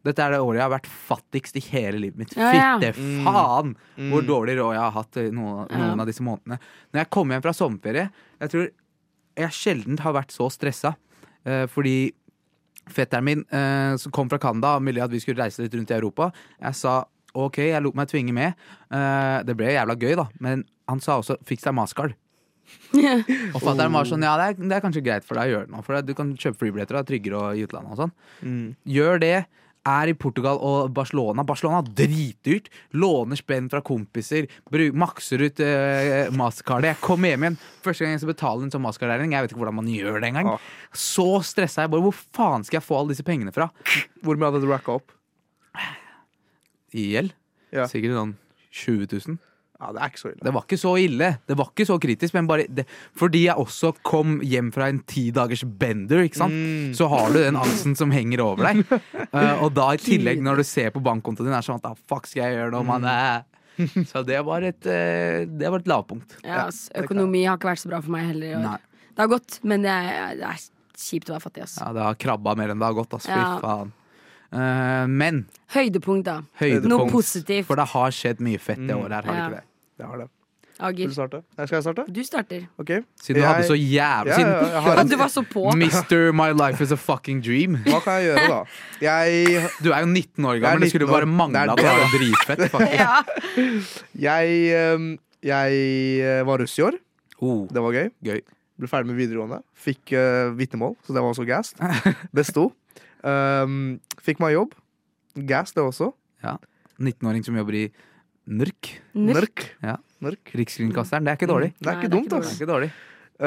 [SPEAKER 2] dette er det året jeg har vært fattigst i hele livet mitt.
[SPEAKER 3] Ja, ja.
[SPEAKER 2] Fitte
[SPEAKER 4] Mm.
[SPEAKER 2] faen hvor
[SPEAKER 4] Mm.
[SPEAKER 2] dårlig råd jeg har hatt eh, noen,
[SPEAKER 3] Ja.
[SPEAKER 2] noen av disse månedene. Når jeg kom hjem fra sommerferie, jeg tror jeg sjelden har vært så stressa. eh, fordi fetteren min eh, som kom fra Canada og ville at vi skulle reise litt rundt i Europa, jeg sa OK, jeg lot meg tvinge med. Eh, det ble jævla gøy, da, men han sa også 'fiks deg maskard'. Og fatter'n var sånn 'ja, det er, det er kanskje greit for deg å gjøre det nå', for du kan kjøpe flybilletter og det er tryggere og i utlandet og sånn.
[SPEAKER 4] Mm.
[SPEAKER 2] Gjør det. Er i Portugal og Barcelona. Barcelona er dritdyrt. Låner spenn fra kompiser. Bru, makser ut uh, mastercardet. Jeg kom hjem igjen. Første gang jeg skal betale en sånn mastercard-regning. Jeg vet ikke hvordan man gjør det engang.
[SPEAKER 4] Ah.
[SPEAKER 2] Så stressa jeg bare. Hvor faen skal jeg få alle disse pengene fra?
[SPEAKER 4] Hvor mye hadde du racka opp?
[SPEAKER 2] I gjeld?
[SPEAKER 4] Ja.
[SPEAKER 2] Sikkert sånn 20 000.
[SPEAKER 4] Ja, det er ikke så ille.
[SPEAKER 2] Det var ikke så ille. Det var ikke så kritisk, men bare det, fordi jeg også kom hjem fra en ti dagers bender, ikke sant?
[SPEAKER 4] Mm.
[SPEAKER 2] så har du den angsten som henger over deg. Eh, og da i tillegg, når du ser på bankkontoen din, er det sånn at ah, fuck skal jeg gjøre nå, mann?
[SPEAKER 4] Mm.
[SPEAKER 2] Eh. Så det var et, eh, det var et lavpunkt.
[SPEAKER 3] Ja, ass. Økonomi har ikke vært så bra for meg heller i år.
[SPEAKER 2] Nei.
[SPEAKER 3] Det har gått, men det er, det er kjipt å være fattig. altså. Ass.
[SPEAKER 2] Ja, det har krabba mer enn det har gått, ass. Fy
[SPEAKER 3] Ja.
[SPEAKER 2] faen. Eh, men
[SPEAKER 3] Høydepunkt, da.
[SPEAKER 2] høydepunkt.
[SPEAKER 3] Noe positivt.
[SPEAKER 4] Mm.
[SPEAKER 2] For det har skjedd mye fett det året her, har det
[SPEAKER 3] Ja.
[SPEAKER 2] ikke det?
[SPEAKER 4] Det har det. Vil du
[SPEAKER 3] Ager.
[SPEAKER 4] starte? Nei, skal jeg starte?
[SPEAKER 3] Du starter.
[SPEAKER 4] Ok.
[SPEAKER 2] Siden du
[SPEAKER 4] Jeg-
[SPEAKER 2] hadde så
[SPEAKER 4] Ja,
[SPEAKER 2] jævlig
[SPEAKER 4] ja,
[SPEAKER 2] Siden
[SPEAKER 4] jeg har
[SPEAKER 3] At
[SPEAKER 4] en.
[SPEAKER 3] du var så på.
[SPEAKER 2] Mister My Life Is A Fucking Dream.
[SPEAKER 4] Hva kan jeg gjøre, da? Jeg,
[SPEAKER 2] Du er jo 19 år
[SPEAKER 4] Jeg er
[SPEAKER 2] gammel, det skulle
[SPEAKER 4] 19 år.
[SPEAKER 2] bare mangle at du
[SPEAKER 4] Det er det.
[SPEAKER 2] var dritfett. faktisk.
[SPEAKER 3] Ja.
[SPEAKER 4] jeg, ehm, jeg eh, var russ i år.
[SPEAKER 2] Oh,
[SPEAKER 4] Det var gøy.
[SPEAKER 2] gøy.
[SPEAKER 4] Ble ferdig med videregående. Fikk uh, vitnemål, så det var også gassed. Besto. Um, fikk meg jobb. Gassed, det også.
[SPEAKER 2] 19-åring som jobber i NURK,
[SPEAKER 3] Nørk.
[SPEAKER 4] Nørk.
[SPEAKER 2] Ja.
[SPEAKER 4] Nørk. Mm.
[SPEAKER 2] Rikskringkasteren. Det er ikke dårlig.
[SPEAKER 4] Det er
[SPEAKER 3] Nei, det
[SPEAKER 4] ikke
[SPEAKER 3] er
[SPEAKER 4] dumt,
[SPEAKER 3] ikke
[SPEAKER 2] Det
[SPEAKER 4] ass.
[SPEAKER 2] er ikke dårlig.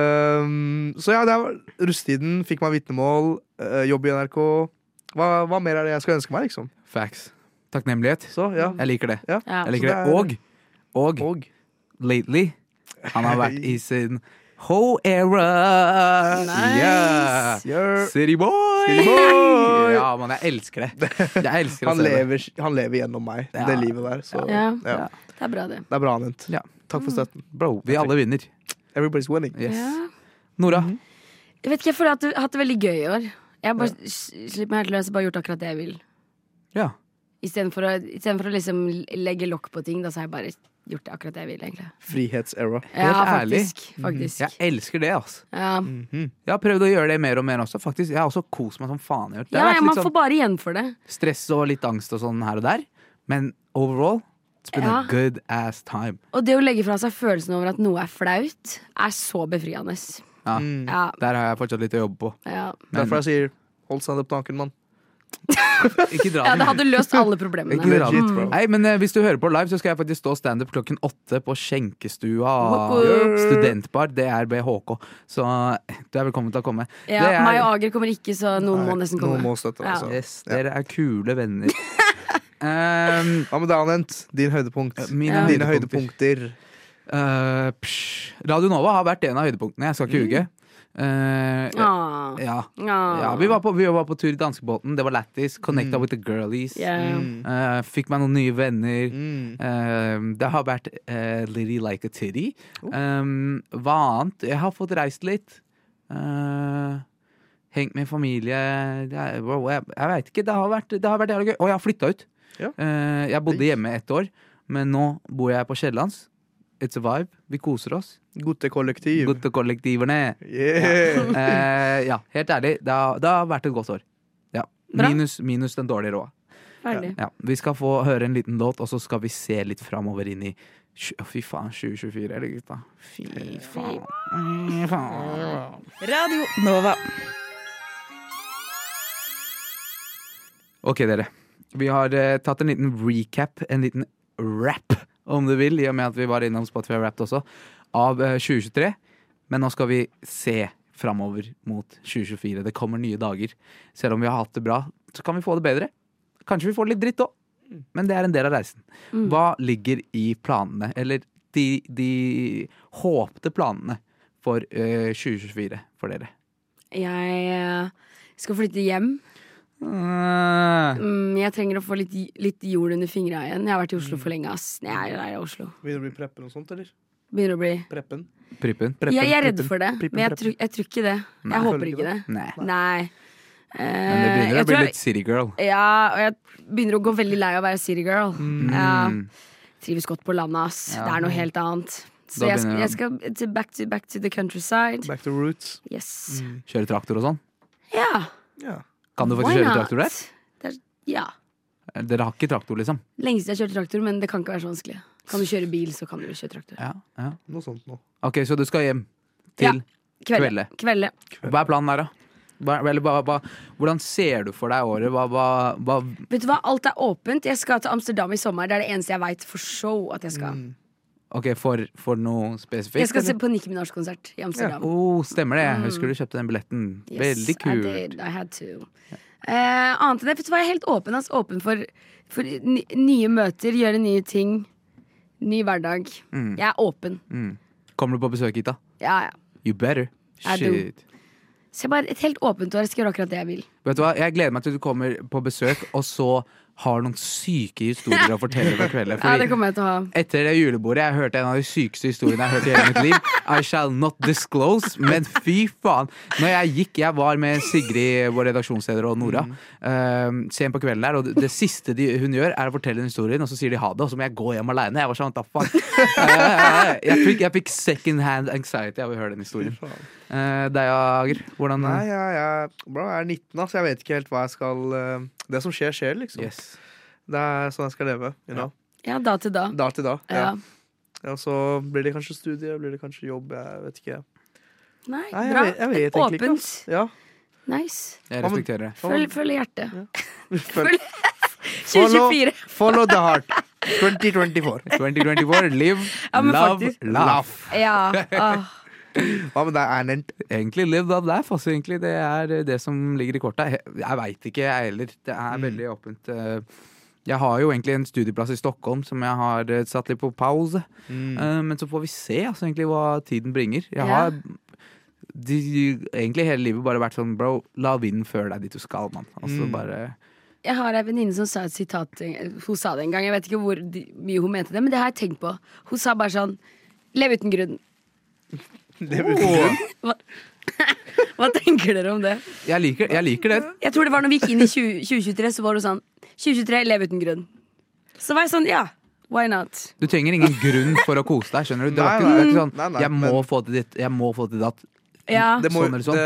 [SPEAKER 4] Um, så ja, det er russetiden. Fikk meg vitnemål. eh, jobb i NRK. Hva, hva mer er det jeg skal ønske meg, liksom?
[SPEAKER 2] Facts. Takknemlighet.
[SPEAKER 4] Så ja.
[SPEAKER 2] Jeg liker det.
[SPEAKER 3] Ja.
[SPEAKER 2] Jeg liker
[SPEAKER 4] Så
[SPEAKER 2] det. Og,
[SPEAKER 4] det
[SPEAKER 2] og
[SPEAKER 4] Og
[SPEAKER 2] lately Han har vært i sin ho era.
[SPEAKER 3] Nice.
[SPEAKER 2] Yeah.
[SPEAKER 4] Gjør-
[SPEAKER 2] City boy!
[SPEAKER 4] City boy!
[SPEAKER 2] ja, man, jeg elsker det. Jeg elsker å
[SPEAKER 4] han
[SPEAKER 2] se det.
[SPEAKER 4] lever, han lever gjennom meg,
[SPEAKER 2] Ja.
[SPEAKER 4] det livet der. Så ja.
[SPEAKER 3] Ja. Mm. Det er bra, det.
[SPEAKER 4] det er bra, Anent.
[SPEAKER 2] Ja.
[SPEAKER 4] Takk for støtten.
[SPEAKER 2] Bro, vi alle vinner.
[SPEAKER 4] Everybody's winning.
[SPEAKER 2] Yes.
[SPEAKER 3] Ja.
[SPEAKER 2] Nora,
[SPEAKER 4] Mhm.
[SPEAKER 3] Jeg vet ikke, jeg føler at jeg har hatt det veldig gøy i år. Jeg har bare s- slipp meg helt løs og bare gjort akkurat det jeg vil.
[SPEAKER 2] Ja.
[SPEAKER 3] Istedenfor å, i stedet for å liksom legge lokk på ting, da så har jeg bare gjort det akkurat det jeg vil, egentlig.
[SPEAKER 4] Frihetsera.
[SPEAKER 3] Ja,
[SPEAKER 2] ærlig.
[SPEAKER 3] faktisk. faktisk.
[SPEAKER 2] jeg elsker det, altså.
[SPEAKER 3] Ja.
[SPEAKER 2] Jeg har prøvd å gjøre det mer og mer også. Faktisk, Jeg har også kost meg som faen. i år. Det
[SPEAKER 3] Ja,
[SPEAKER 2] har
[SPEAKER 3] ja,
[SPEAKER 2] vært
[SPEAKER 3] man
[SPEAKER 2] litt
[SPEAKER 3] får
[SPEAKER 2] sånn
[SPEAKER 3] bare igjen for det.
[SPEAKER 2] stress og litt angst og sånn her og der. Men overall, it's been a
[SPEAKER 3] Ja.
[SPEAKER 2] good ass time.
[SPEAKER 3] Og det å legge fra seg følelsen over at noe er flaut, er så befriende.
[SPEAKER 4] Mm.
[SPEAKER 2] Ja.
[SPEAKER 3] Ja,
[SPEAKER 2] Der har jeg fortsatt litt å jobbe på.
[SPEAKER 3] ja.
[SPEAKER 2] Men
[SPEAKER 4] Derfor jeg sier hold standup-tanken, mann.
[SPEAKER 2] ikke dra
[SPEAKER 3] ja,
[SPEAKER 2] den.
[SPEAKER 3] det hadde løst alle
[SPEAKER 2] Ikke
[SPEAKER 3] problemene.
[SPEAKER 2] dra den.
[SPEAKER 4] Legit, bro.
[SPEAKER 2] Nei, men eh, hvis du hører på live, så skal jeg faktisk stå standup klokken åtte på Skjenkestua.
[SPEAKER 3] Woop woop.
[SPEAKER 2] Studentbar. Det er BHK. Så eh, du er velkommen til å komme.
[SPEAKER 3] Ja,
[SPEAKER 2] det er-
[SPEAKER 3] meg og Ager kommer ikke, så noen må
[SPEAKER 4] Nei,
[SPEAKER 3] nesten
[SPEAKER 4] Noen
[SPEAKER 3] komme.
[SPEAKER 4] må støtte deg.
[SPEAKER 3] Ja.
[SPEAKER 4] altså.
[SPEAKER 2] Yes, dere er kule venner. um,
[SPEAKER 4] Hva med deg, Anent? Din høydepunkt.
[SPEAKER 2] mine
[SPEAKER 3] Ja.
[SPEAKER 4] Dine
[SPEAKER 2] høydepunkter.
[SPEAKER 4] høydepunkter.
[SPEAKER 2] Eh, psj. Radio Nova har vært en av høydepunktene. Jeg skal ikke ljuge. Eh,
[SPEAKER 3] Mm. Ah.
[SPEAKER 2] ja.
[SPEAKER 3] Ah.
[SPEAKER 2] ja, vi var, på, vi var på tur i danskebåten. Det var lættis. Connecta with the girlies.
[SPEAKER 3] Ja.
[SPEAKER 2] Eh, fikk meg noen nye venner.
[SPEAKER 4] Mm.
[SPEAKER 2] Eh, det har vært eh, Litty like a titty. Um, hva annet? Jeg har fått reist litt. Eh, hengt med familie. Det er- wow, Jeg, jeg veit ikke. Det har vært, det har vært jævlig gøy. Og jeg har flytta ut.
[SPEAKER 4] Ja.
[SPEAKER 2] Eh, jeg bodde hjemme ett år, men nå bor jeg på Kiellands. It's a vibe. Vi koser oss.
[SPEAKER 4] Guttekollektiv.
[SPEAKER 2] Godt til kollektivene.
[SPEAKER 4] Yeah.
[SPEAKER 2] Eh, ja, helt ærlig. Det har, det har vært et godt år. Ja.
[SPEAKER 3] Bra.
[SPEAKER 2] Minus, minus den dårlige råd.
[SPEAKER 3] Ferdig.
[SPEAKER 2] Ja, vi skal få høre en liten låt, og så skal vi se litt framover inn i tj- å, Fy faen, 2024, eller gutta? Fy faen. Fy faen.
[SPEAKER 9] Radio Nova.
[SPEAKER 2] Ok, dere. Vi har eh, tatt en liten recap, en liten rap, om du vil, i og med at vi var innom Spotify Wrapped også, av eh, 2023. Men nå skal vi se framover mot 2024. Det kommer nye dager. Selv om vi har hatt det bra, så kan vi få det bedre. Kanskje vi får det litt dritt òg, men det er en del av reisen.
[SPEAKER 9] Mm.
[SPEAKER 2] Hva ligger i planene, eller de, de håpte planene for eh, 2024 for dere?
[SPEAKER 3] Jeg eh, skal flytte hjem.
[SPEAKER 2] Mm.
[SPEAKER 3] Mm, jeg trenger å få litt, litt jord under fingra igjen. Jeg har vært i
[SPEAKER 2] Mm.
[SPEAKER 3] Oslo for lenge. ass Jeg er lei av Oslo.
[SPEAKER 4] Begynner å bli preppen og sånt, eller?
[SPEAKER 3] Begynner å bli
[SPEAKER 4] Preppen?
[SPEAKER 2] Prippen?
[SPEAKER 3] jeg, jeg er redd
[SPEAKER 4] preppen,
[SPEAKER 3] for det,
[SPEAKER 4] preppen,
[SPEAKER 3] men jeg
[SPEAKER 4] preppen.
[SPEAKER 3] tror, jeg tror ikke det.
[SPEAKER 2] Nei,
[SPEAKER 3] jeg håper
[SPEAKER 4] føler du
[SPEAKER 3] ikke det.
[SPEAKER 2] Nei.
[SPEAKER 3] Nei.
[SPEAKER 2] Men det begynner
[SPEAKER 3] Eh,
[SPEAKER 2] å bli
[SPEAKER 3] jeg tror jeg-
[SPEAKER 2] litt city girl.
[SPEAKER 3] Ja, og jeg begynner å gå veldig lei av å være city girl. Ja,
[SPEAKER 2] Mm.
[SPEAKER 3] trives godt på landet, ass.
[SPEAKER 2] Ja.
[SPEAKER 3] Det er noe helt annet. Så
[SPEAKER 2] Da
[SPEAKER 3] jeg skal,
[SPEAKER 2] begynner
[SPEAKER 3] jeg skal til back, to, back to Mm. the countryside.
[SPEAKER 4] Back to roots.
[SPEAKER 3] Yes.
[SPEAKER 2] Kjøre traktor og sånn.
[SPEAKER 3] Ja.
[SPEAKER 4] Ja.
[SPEAKER 2] Kan du
[SPEAKER 3] why
[SPEAKER 2] faktisk kjøre
[SPEAKER 3] not?
[SPEAKER 2] traktor der? Eh,
[SPEAKER 3] Det er, ja.
[SPEAKER 2] Dere har ikke traktor, liksom?
[SPEAKER 3] Lenge siden jeg kjørte traktor, men det kan ikke være så vanskelig. Kan du kjøre bil, så kan du kjøre traktor.
[SPEAKER 2] Ja, ja.
[SPEAKER 4] Noe sånt nå.
[SPEAKER 2] Ok, så du skal hjem til
[SPEAKER 3] Kvelde. Kvelde.
[SPEAKER 2] Hva er planen der, da? Hva, eller, hva, hva, hvordan ser du for deg året? Hva, hva, hva
[SPEAKER 3] Vet du hva, alt er åpent. Jeg skal til Amsterdam i sommer. Det er det eneste jeg veit for show at jeg skal.
[SPEAKER 2] Mm. Ok, for, for noe spesifikt?
[SPEAKER 3] Jeg skal se
[SPEAKER 2] eller?
[SPEAKER 3] på Nicki Minaj-konsert i Amsterdam.
[SPEAKER 2] oh, stemmer det. Jeg husker du kjøpte den billetten.
[SPEAKER 3] Yes,
[SPEAKER 2] Veldig
[SPEAKER 3] I
[SPEAKER 2] kult.
[SPEAKER 3] did. I had to. Eh, annet enn det, vet du hva, jeg er helt åpen. ass. Åpen for, for ny, nye møter, gjøre nye ting. Ny hverdag.
[SPEAKER 4] Mm.
[SPEAKER 3] Jeg er åpen.
[SPEAKER 2] Kommer du på besøk hit, da?
[SPEAKER 3] Ja, ja.
[SPEAKER 2] You better.
[SPEAKER 3] I do.
[SPEAKER 2] Shit.
[SPEAKER 3] Så jeg bare et helt åpent år. Jeg skal gjøre akkurat det jeg vil.
[SPEAKER 2] Vet du hva, Jeg gleder meg til du kommer på besøk, og så har noen syke historier å fortelle hver kveld.
[SPEAKER 3] Ja,
[SPEAKER 2] fordi-
[SPEAKER 3] det kommer jeg til å ha.
[SPEAKER 2] etter det julebordet Jeg hørte en av de sykeste historiene jeg har hørt i hele mitt liv. I shall not disclose, men fy faen. Når jeg gikk, jeg var med Sigrid, vår redaksjonsleder, og Nora eh, sent på kvelden der, og det, det siste de, hun gjør, er å fortelle den historien, og så sier de ha det, og så må jeg gå hjem aleine. Jeg var sånn, da faen. Eh, jeg, fikk, jeg fikk second hand anxiety av å høre den historien. Uh, Deg, Ager? Hvordan
[SPEAKER 4] Nei, jeg, jeg, bro, jeg er 19, ass. Jeg vet ikke helt hva jeg skal eh, Det som skjer, skjer, liksom.
[SPEAKER 2] Yes.
[SPEAKER 4] Det er sånn jeg skal leve. You know?
[SPEAKER 3] Ja, da til da.
[SPEAKER 4] Da til da.
[SPEAKER 3] Ja.
[SPEAKER 4] Ja. Ja, så blir det kanskje studie, blir det kanskje jobb, jeg vet ikke.
[SPEAKER 3] Nei,
[SPEAKER 4] Nei, jeg
[SPEAKER 3] bra.
[SPEAKER 4] vet, jeg vet egentlig ikke.
[SPEAKER 3] Åpent.
[SPEAKER 4] ass. Ja.
[SPEAKER 3] Nice.
[SPEAKER 2] Jeg respekterer det.
[SPEAKER 3] Følg, følg hjertet.
[SPEAKER 4] Følg-
[SPEAKER 3] 2024.
[SPEAKER 4] Follow, follow the heart. 2024.
[SPEAKER 2] 2024, live,
[SPEAKER 3] Ja, men
[SPEAKER 2] love,
[SPEAKER 3] faktisk-
[SPEAKER 2] laugh.
[SPEAKER 3] Ja. Åh.
[SPEAKER 4] Hva med deg, Ernent?
[SPEAKER 2] Egentlig live that life. Altså, egentlig, det er det som ligger i kortet. Jeg, jeg veit ikke, jeg heller. Det
[SPEAKER 4] Mm.
[SPEAKER 2] er veldig åpent. eh. Jeg har jo egentlig en studieplass i Stockholm som jeg har eh, satt litt på pause.
[SPEAKER 4] Mm.
[SPEAKER 2] Eh, Men så får vi se altså, egentlig hva tiden bringer. Jeg
[SPEAKER 3] Ja.
[SPEAKER 2] har de, egentlig hele livet bare vært sånn bro, la vinden føre deg dit du skal, mann. Altså,
[SPEAKER 4] Mm.
[SPEAKER 2] bare,
[SPEAKER 3] Jeg har ei venninne som sa et sitat Hun sa det en gang, jeg vet ikke hvor de- mye hun mente det, men det har jeg tenkt på. Hun sa bare sånn Lev uten grunn. Hva, Hva tenker dere om det?
[SPEAKER 2] jeg, liker, jeg liker det.
[SPEAKER 3] Jeg tror det var når vi gikk inn i 20, 2023, så var hun sånn 2023, lev uten grunn. Så var jeg sånn, ja, why not?
[SPEAKER 2] Du trenger ingen grunn for å kose deg. skjønner du? Det var
[SPEAKER 4] Nei,
[SPEAKER 2] ikke, det er ikke
[SPEAKER 4] nei.
[SPEAKER 2] sånn,
[SPEAKER 4] Nei, nei,
[SPEAKER 2] jeg, må
[SPEAKER 4] men-
[SPEAKER 2] få til ditt, jeg må få til datt.
[SPEAKER 3] Ja.
[SPEAKER 4] Det må,
[SPEAKER 2] Sånn eller
[SPEAKER 4] jo- det,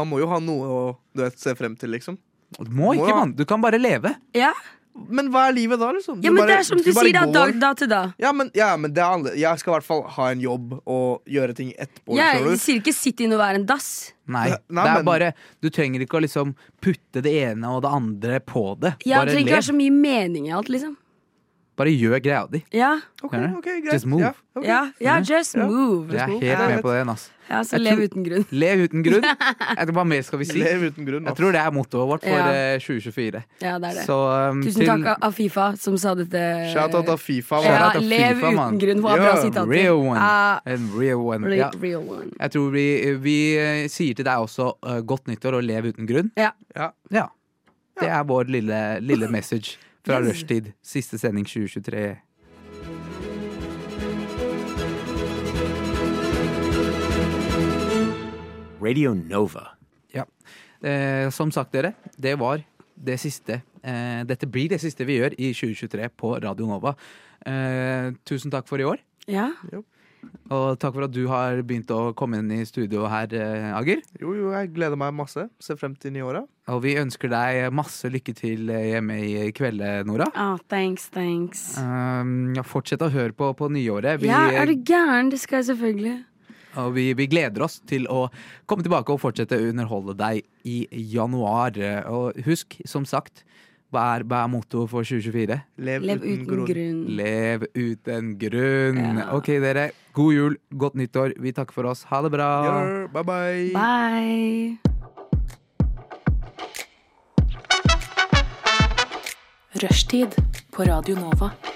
[SPEAKER 4] man må jo ha noe å du vet, se frem til, liksom.
[SPEAKER 2] Du må
[SPEAKER 4] Må
[SPEAKER 2] ikke,
[SPEAKER 4] da.
[SPEAKER 2] mann. Du kan bare leve.
[SPEAKER 3] Ja,
[SPEAKER 4] Men hva er livet da, liksom?
[SPEAKER 3] ja men det er som du
[SPEAKER 4] bare
[SPEAKER 3] sier, da,
[SPEAKER 4] går.
[SPEAKER 3] dag, da til da.
[SPEAKER 4] Ja, men, ja, men det er annerledes. Jeg skal i hvert fall ha en jobb og gjøre ting etterpå. skjønner
[SPEAKER 3] Jeg
[SPEAKER 4] du?
[SPEAKER 3] sier ikke sitt inne og vær en dass.
[SPEAKER 2] Nei,
[SPEAKER 4] Nei, nei,
[SPEAKER 2] det er
[SPEAKER 4] men-
[SPEAKER 2] bare Du trenger ikke å liksom putte det ene og det andre på det.
[SPEAKER 3] Ja, det
[SPEAKER 2] bare
[SPEAKER 3] trenger ikke
[SPEAKER 2] lev.
[SPEAKER 3] være så mye mening i alt, liksom.
[SPEAKER 2] Bare gjør greia di.
[SPEAKER 3] Ja,
[SPEAKER 4] Ok,
[SPEAKER 2] Skjønner du?
[SPEAKER 4] ok, greit.
[SPEAKER 2] Just move.
[SPEAKER 4] Ja, ok.
[SPEAKER 3] ja, ja just
[SPEAKER 4] Ja.
[SPEAKER 3] move.
[SPEAKER 2] Jeg er helt
[SPEAKER 4] Ja, jeg
[SPEAKER 2] med
[SPEAKER 4] vet.
[SPEAKER 2] på den. ass
[SPEAKER 3] Ja, så
[SPEAKER 2] Jeg
[SPEAKER 3] lev
[SPEAKER 2] tror-
[SPEAKER 3] uten grunn.
[SPEAKER 2] Lev uten grunn. Jeg tror, hva mer skal vi si?
[SPEAKER 4] Lev uten grunn.
[SPEAKER 2] Jeg
[SPEAKER 4] ass.
[SPEAKER 2] tror det er mottoet vårt for
[SPEAKER 3] Ja.
[SPEAKER 2] eh, 2024.
[SPEAKER 3] Ja, det er det.
[SPEAKER 2] Så um,
[SPEAKER 3] Tusen takk av- av Fifa som sa dette.
[SPEAKER 4] Shout-out av Fifa.
[SPEAKER 2] Shout
[SPEAKER 4] mann.
[SPEAKER 2] out
[SPEAKER 3] ja,
[SPEAKER 2] til
[SPEAKER 3] lev
[SPEAKER 2] FIFA, mann.
[SPEAKER 3] uten grunn. Hun har bra
[SPEAKER 4] Yeah,
[SPEAKER 2] til
[SPEAKER 3] sitater.
[SPEAKER 2] Real one.
[SPEAKER 3] Ah,
[SPEAKER 2] En real one.
[SPEAKER 3] re-
[SPEAKER 2] Ja.
[SPEAKER 3] real one.
[SPEAKER 2] Jeg tror vi, vi eh, sier til deg også eh, godt nyttår og lev uten grunn.
[SPEAKER 3] Ja.
[SPEAKER 2] Ja. Det er vår lille, lille message fra rushtid. Siste sending 2023.
[SPEAKER 8] Radio Nova.
[SPEAKER 2] Ja. Eh, som sagt, dere, det var det siste. Eh, dette blir det siste vi gjør i 2023 på Radio Nova. Eh, tusen takk for i år,
[SPEAKER 3] ja.
[SPEAKER 2] og takk for at du har begynt å komme inn i studio her, eh, Agir.
[SPEAKER 4] Jo, jo, jeg gleder meg masse. Ser frem til nye åra.
[SPEAKER 2] Og vi ønsker deg masse lykke til eh, hjemme i kvelde, Nora.
[SPEAKER 3] Ah, thanks, thanks.
[SPEAKER 2] Um, ja, fortsett å høre på på nyåret. Vi,
[SPEAKER 3] Ja, er du gæren? Det skal jeg selvfølgelig.
[SPEAKER 2] og vi, vi gleder oss til å komme tilbake og fortsette å underholde deg i januar. Eh, Og husk, som sagt, hva er, hva er mottoet for 2024?
[SPEAKER 4] Lev,
[SPEAKER 3] Lev uten grunn.
[SPEAKER 2] Lev uten grunn.
[SPEAKER 3] Ja.
[SPEAKER 2] Ok, dere. God jul, godt nyttår. Vi takker for oss. Ha det bra.
[SPEAKER 4] Gjør. Bye, bye.
[SPEAKER 3] Bye.
[SPEAKER 1] Rushtid på Radio Nova.